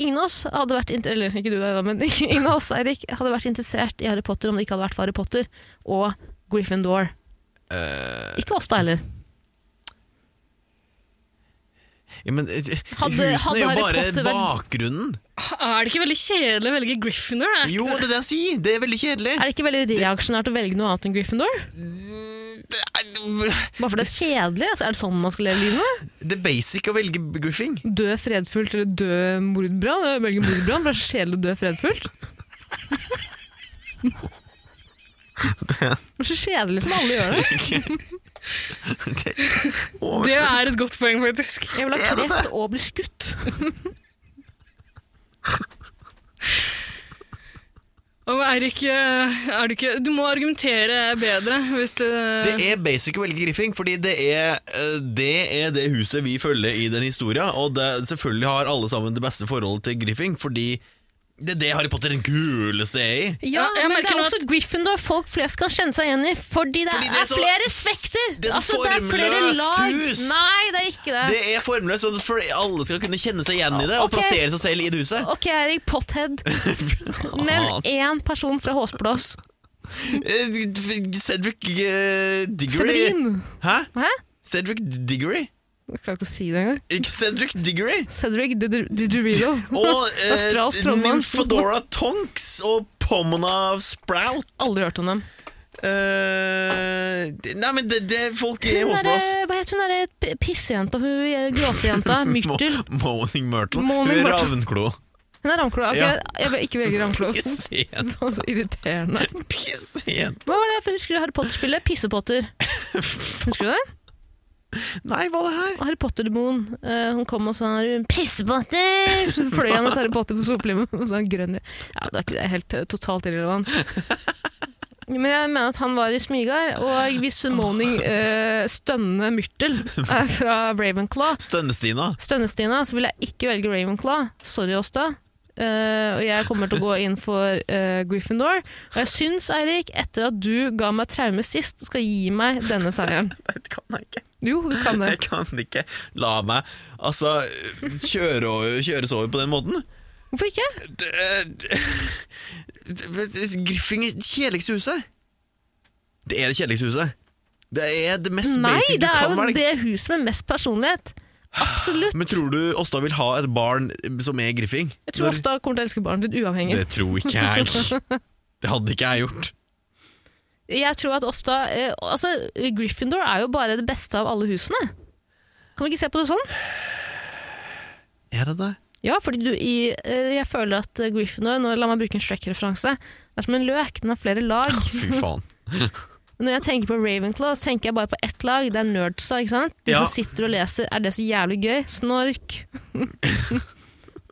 Speaker 3: Ingen av oss hadde vært inter- eller ikke du, Eva, men <laughs> ingen av oss, Eirik, hadde vært interessert i Harry Potter om det ikke hadde vært for Harry Potter og Gryffindor.
Speaker 2: Eh,
Speaker 3: ikke oss, da heller.
Speaker 2: Ja, men eh,
Speaker 3: Hadde-
Speaker 2: husene er
Speaker 3: hadde
Speaker 2: jo
Speaker 3: Harry
Speaker 2: bare
Speaker 3: Potter vært-
Speaker 2: bakgrunnen.
Speaker 4: er det ikke veldig kjedelig å velge Gryffindor? Er?
Speaker 2: Jo, det er det jeg sier! Det er veldig kjedelig.
Speaker 3: Er det ikke veldig reaksjonært å velge noe annet enn Gryffindor?
Speaker 2: Det er,
Speaker 3: Bare fordi det er kjedelig? Altså, er det sånn man skal leve livet?
Speaker 2: det er basic å velge griffing.
Speaker 3: Dø fredfullt eller dø mordbrann? Jeg Velger mordbrann, for det er så kjedelig å dø
Speaker 2: <laughs>
Speaker 3: fredfullt. Det er så kjedelig som alle gjør det.
Speaker 4: Det er et godt poeng, faktisk.
Speaker 3: Jeg vil ha kreft og bli skutt.
Speaker 4: Og Eirik, eh, er du ikke Du må argumentere bedre hvis du
Speaker 2: Det er basic å velge griffing, fordi det er, eh, det er det huset vi følger i den historien, og det, selvfølgelig har alle sammen det beste forholdet til griffing, fordi det er det Harry Potter den kuleste er i.
Speaker 3: Ja,
Speaker 4: Ja,
Speaker 3: men
Speaker 4: jeg
Speaker 3: det
Speaker 4: merker
Speaker 3: er
Speaker 4: nå
Speaker 3: også Gryffindor folk flest kan kjenne seg igjen i, fordi det,
Speaker 2: Fordi det er
Speaker 3: er,
Speaker 2: så-
Speaker 3: flere spekter! Altså,
Speaker 2: det er så formløst hus.
Speaker 3: Nei, det er ikke det.
Speaker 2: Det er formløst, og for alle skal kunne kjenne seg igjen i det, og
Speaker 3: Ok.
Speaker 2: plassere seg selv i det huset.
Speaker 3: Ok,
Speaker 2: <laughs>
Speaker 3: Erik Pothead. Nevn én person fra Håsblås.
Speaker 2: Eh, Cedric eh, Diggory
Speaker 3: Severin.
Speaker 2: Hæ?
Speaker 3: Hæ?
Speaker 2: Cedric Diggory?
Speaker 3: Jeg klarer ikke å si det engang.
Speaker 2: Ikke Cedric Diggory?
Speaker 3: Cedric Didgerido.
Speaker 2: <laughs>
Speaker 3: <laughs>
Speaker 2: Og eh,
Speaker 3: Australsk trollmann.
Speaker 2: Nymphadora Tonks og Pomona Sprout.
Speaker 3: Aldri hørt om dem.
Speaker 2: Eh, det- nei, men det, det folk er
Speaker 3: Hun eh,
Speaker 2: hos
Speaker 3: derre-
Speaker 2: oss.
Speaker 3: hva het hun derre p- pissejenta, hun eh,
Speaker 2: <laughs>
Speaker 3: gråtejenta? Myrtel.
Speaker 2: Moaning Myrtle. Hun
Speaker 3: Moaning
Speaker 2: er
Speaker 3: Myrtle.
Speaker 2: Ravnklo.
Speaker 3: Hun er ramklo. Ok,
Speaker 2: Ja.
Speaker 3: Jeg vil ikke
Speaker 2: <laughs>
Speaker 3: velge ramklo. <laughs> Det
Speaker 2: Pissjent.
Speaker 3: var så irriterende.
Speaker 2: Pissjent.
Speaker 3: Hva var det for, husker du Harry Potter-spillet? Pissepotter. Husker du det?
Speaker 2: Nei, hva er det her?
Speaker 3: Harry Potter-demonen. eh, han kom og sa 'Pissepotter!' Så fløy han mot Harry Potter på sopelimmen. Og så han grønn i- Ja, det er ikke det. Helt eh, totalt irrelevant. Men jeg mener at han var i Smygard, og hvis Moaning uh, stønnende myrtel er fra Ravenclaw
Speaker 2: Stønne-Stina.
Speaker 3: Stønne-Stina, så vil jeg ikke velge Ravenclaw. Sorry, Åsta. Eh, og jeg kommer til å gå inn for eh, Gryffindor. Og jeg syns, Eirik, etter at du ga meg traume sist, skal gi meg denne seieren.
Speaker 2: Nei, det kan jeg ikke.
Speaker 3: Jo, du kan det.
Speaker 2: Jeg kan ikke la meg altså, kjøre over, kjøres over på den måten.
Speaker 3: Hvorfor ikke?
Speaker 2: Det, det, <laughs> det, Griffing er det kjedeligste huset. Det er det kjedeligste huset. Det er det mest
Speaker 3: Nei,
Speaker 2: basic du
Speaker 3: det er
Speaker 2: kan
Speaker 3: jo
Speaker 2: velge.
Speaker 3: det huset med mest personlighet. Absolutt.
Speaker 2: Men tror du Åsta vil ha et barn eh, som er griffing?
Speaker 3: Jeg tror Åsta kommer til å elske barnet ditt uavhengig.
Speaker 2: Det tror ikke jeg. <laughs> Det hadde ikke jeg gjort.
Speaker 3: Jeg tror at Åsta eh, Altså, Gryffindor er jo bare det beste av alle husene. Kan vi ikke se på det sånn?
Speaker 2: Er det det?
Speaker 3: Ja, fordi du i eh, Jeg føler at eh, Gryffindor nå, La meg bruke en Shrek-referanse. Det er som en løk, den har flere lag. <laughs>
Speaker 2: Fy faen.
Speaker 3: Men Når jeg tenker på Ravenclaw, så tenker jeg bare på ett lag. Det er nerdsa, ikke sant? De
Speaker 2: Ja.
Speaker 3: som sitter og leser. Er det så jævlig gøy?
Speaker 2: <laughs>
Speaker 3: Snork.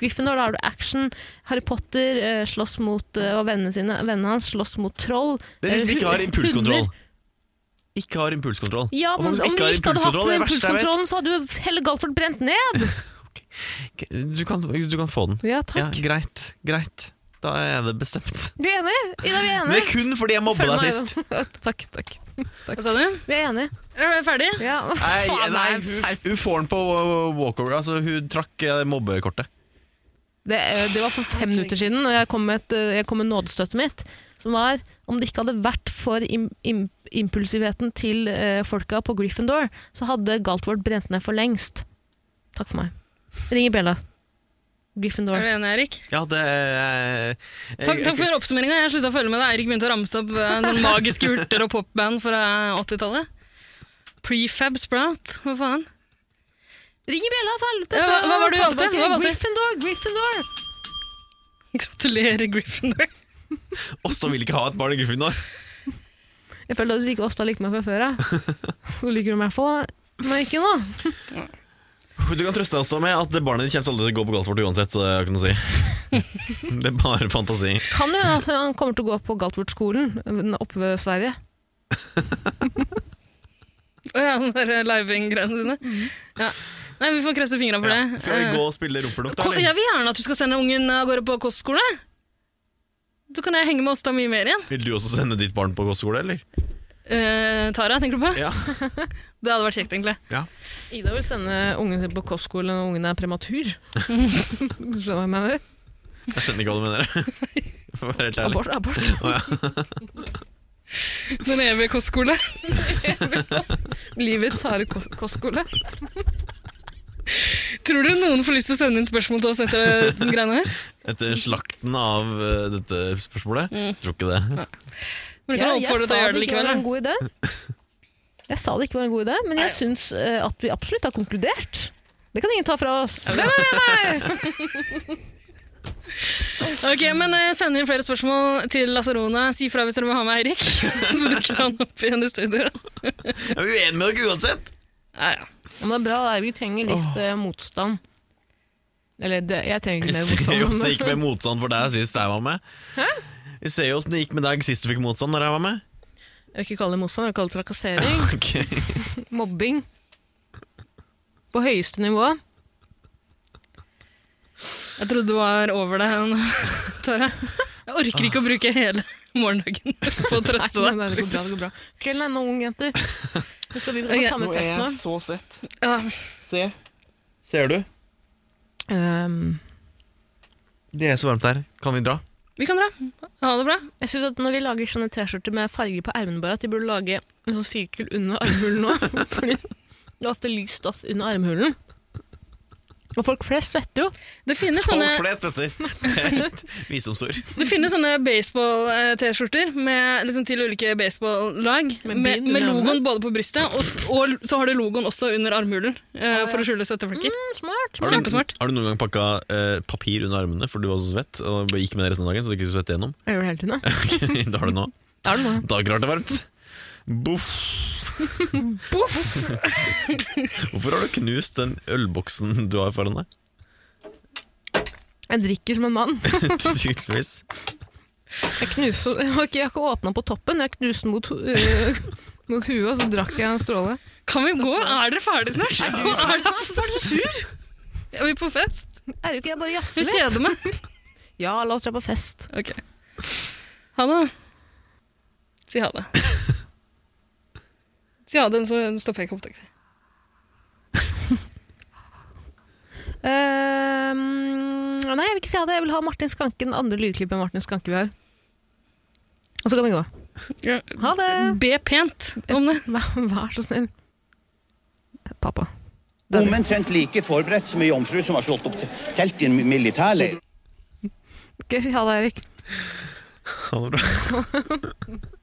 Speaker 3: Gryffindor, da har du action. Harry Potter eh, slåss mot eh, og vennene sine, vennene hans slåss mot troll.
Speaker 2: Det er de som
Speaker 3: Eh,
Speaker 2: ikke har
Speaker 3: hu-
Speaker 2: impulskontroll.
Speaker 3: hunder.
Speaker 2: Ikke har impulskontroll.
Speaker 3: Ja,
Speaker 2: Og
Speaker 3: men
Speaker 2: folk som
Speaker 3: Om vi ikke hadde hatt
Speaker 2: det
Speaker 3: den
Speaker 2: er det verste jeg vet.
Speaker 3: impulskontrollen, så hadde jo hele Galford brent ned!
Speaker 2: Du kan, du kan få den.
Speaker 3: Ja,
Speaker 2: Ja,
Speaker 3: takk.
Speaker 2: greit. Greit. Da er det bestemt.
Speaker 3: Vi er enige! Ida, vi er
Speaker 2: Men det er
Speaker 3: enige!
Speaker 2: kun fordi jeg mobba
Speaker 3: Følg
Speaker 2: deg
Speaker 3: meg,
Speaker 2: sist.
Speaker 3: Ida. <laughs> takk, takk.
Speaker 4: Hva sa du?
Speaker 3: Vi er enige.
Speaker 4: Er du ferdig?
Speaker 3: Ja.
Speaker 2: Nei,
Speaker 3: Faen,
Speaker 2: nei
Speaker 3: nei,
Speaker 2: hun,
Speaker 3: skjerp.
Speaker 2: hun får den på walkover. Altså, hun trakk eh, mobbekortet.
Speaker 3: Det, eh, det var for fem minutter siden, og jeg kom med, et, eh, jeg kom med nådestøttet mitt, som var om det ikke hadde vært for im, im, impulsivheten til eh, folka på Gryffindor, så hadde Galtvort brent ned for lengst. Takk for meg. Ring i bjella.
Speaker 4: Er
Speaker 3: Gryffindor.
Speaker 4: du enig, Erik?
Speaker 2: Ja, det eh,
Speaker 4: Takk, takk for oppsummeringa. Jeg slutta å følge med da Eirik begynte å ramse
Speaker 2: <laughs>
Speaker 4: opp eh, sånn magiske urter og popband fra 80-tallet. Prefab Sprout, hva faen?
Speaker 3: Ring i bjella, for helvete!
Speaker 4: Ja, hva- hva var det du
Speaker 3: Ta
Speaker 4: valgte?
Speaker 3: tilbake.
Speaker 4: Hva valgte?
Speaker 3: Gryffindor! Gryffindor!
Speaker 4: Gratulerer, Gryffindor. <laughs>
Speaker 2: Åsta vil ikke ha et barn i Gryffindor.
Speaker 3: Jeg følte at hvis ikke Åsta likte meg fra
Speaker 4: <laughs>
Speaker 3: før, ja. Hun liker hun meg i hvert fall. Men ikke nå.
Speaker 2: Du kan trøste deg også med at det barnet ditt kommer aldri til å gå på Galtvort uansett. Så det kan du si
Speaker 4: <laughs>
Speaker 2: Det er bare fantasi.
Speaker 3: Kan jo hende at han kommer til å gå på Galtvort-skolen eh, oppe ved Sverige.
Speaker 4: Å ja, den der eh, living-greiene dine. Ja. Nei, vi får kresse fingra for
Speaker 2: Mhm. Ja.
Speaker 4: det.
Speaker 2: Skal vi
Speaker 4: Eh,
Speaker 2: gå og spille rumpelukt,
Speaker 4: Ko-
Speaker 2: da?
Speaker 4: Jeg
Speaker 2: eller?
Speaker 4: vil gjerne at du skal sende ungen av gårde på kostskole. Da kan jeg henge med oss da mye mer igjen.
Speaker 2: Vil du også sende ditt barn på kostskole, eller?
Speaker 4: Eh, Tara, tenker du på?
Speaker 2: Ja.
Speaker 4: <laughs> Det hadde vært kjekt, egentlig.
Speaker 3: Ida vil sende ungen sin på kostskole når ungen er prematur. Skjønner du hva jeg mener?
Speaker 2: Jeg skjønner ikke hva du mener.
Speaker 4: <laughs>
Speaker 2: For å være helt ærlig.
Speaker 3: Abort, abort.
Speaker 4: Den evige kostskole.
Speaker 3: Livets harde ko- kostskole.
Speaker 4: Tror du noen får lyst til å sende inn spørsmål til oss
Speaker 2: <laughs>
Speaker 4: etter den greiene her?
Speaker 2: Etter slakten av eh, dette spørsmålet,
Speaker 4: Mm.
Speaker 2: tror ikke det.
Speaker 4: Men du kan
Speaker 3: Ja,
Speaker 4: oppfordre deg til å gjøre det likevel.
Speaker 3: var en
Speaker 4: da.
Speaker 3: god idé. Jeg sa det ikke var en god idé, men jeg syns eh, at vi absolutt har konkludert. Det kan ingen ta fra oss. Hvem er
Speaker 4: Ok, men eh, Send inn flere spørsmål til Lasarona. Si fra hvis dere vil ha med
Speaker 3: <laughs>
Speaker 4: Eirik. Så dukker han opp igjen i studio. da.
Speaker 2: Jeg er uenig med dere uansett!
Speaker 4: Ja, ja.
Speaker 3: <laughs> Ja, men det er bra, det er- vi trenger litt eh, motstand. Eller det, jeg trenger
Speaker 2: Vi
Speaker 3: ikke mer
Speaker 2: ser jo åssen det
Speaker 3: motstand.
Speaker 2: gikk med motstand for deg sist jeg var med. Vi ser jo åssen det gikk med deg sist du fikk motstand når jeg var med.
Speaker 3: Jeg vil ikke kalle det motstand, jeg vil kalle det trakassering.
Speaker 2: Ok.
Speaker 3: Mobbing. På høyeste nivå.
Speaker 4: Jeg trodde du var over det, nå, <laughs> Tara. Jeg orker ikke å bruke hele morgendagen <laughs> på å trøste
Speaker 3: Nei,
Speaker 4: deg.
Speaker 3: men det går bra, det går bra. Kvelden er nå ung, jenter. Nå skal vi på
Speaker 4: Ok.
Speaker 3: samme fest nå.
Speaker 2: så sett.
Speaker 4: Ja.
Speaker 2: Se. Ser du?
Speaker 3: Ehm,
Speaker 2: Det er så varmt her. Kan vi dra?
Speaker 4: Vi kan dra. Ha det bra.
Speaker 3: jeg synes at Når de lager sånne T-skjorter med farger på ermene, bare at de burde lage en sånn sirkel under armhulen nå. <laughs> Fordi det er ofte lyst stoff under armhulen. Og folk flest svetter jo.
Speaker 4: Det finnes sånne,
Speaker 2: Folk flest, vet du. <laughs> Det er et Visdomsord.
Speaker 4: det finnes sånne baseball-T-skjorter med- liksom, til ulike baseball-lag.
Speaker 3: Med
Speaker 4: Med, med,
Speaker 3: bind under
Speaker 4: logoen både på brystet, og, s- og så har du logoen også under armhulen eh, for å skjule svetteflekker.
Speaker 3: Mm, smart.
Speaker 2: Har
Speaker 3: smart.
Speaker 2: du,
Speaker 4: Kjempesmart.
Speaker 2: har du noen gang pakka eh, papir under armene for du var så svett og gikk med det resten av dagen så du ikke skulle svette gjennom? <laughs>
Speaker 3: Jeg gjør det hele tiden. jeg.
Speaker 2: Ok, da har du nå.
Speaker 3: Da er det noe.
Speaker 2: Da er det klart det er varmt. Boff.
Speaker 4: Boff!
Speaker 2: Hvorfor har du knust den ølboksen du har foran deg? <laughs>
Speaker 3: Jeg drikker som en mann.
Speaker 2: Tydeligvis.
Speaker 3: Jeg, knuser, jeg har ikke, jeg har ikke åpna på toppen, jeg knuste den mot, hu- øh, mot huet, og så drakk jeg en stråle.
Speaker 4: Kan vi gå? Er dere ferdige
Speaker 3: <laughs>
Speaker 4: snart? Er,
Speaker 3: Er du snart? Hvorfor er du så sur?
Speaker 4: er vi på fest?
Speaker 3: Er du ikke jeg bare
Speaker 4: Du
Speaker 3: jazzer litt?
Speaker 4: kjeder meg. <laughs>
Speaker 3: Ja, la oss dra på fest.
Speaker 4: Ok. Ha det. Si <laughs> ha det. Si ha det, så stopper jeg ikke opptaket.
Speaker 3: Ehm, nei, jeg vil ikke si ha det. Jeg vil ha Martin Skanke, den andre lydklippet av Martin Skanke vi har. Og så kan vi gå.
Speaker 4: Ja.
Speaker 3: Ha det!
Speaker 4: Be pent om det.
Speaker 3: Vær, vær så snill. Pappa.
Speaker 6: Omtrent like forberedt som ei jomfru som har slått opp te- telt i en militærleir.
Speaker 3: Ok, si ha det, Erik.
Speaker 2: Ha det bra.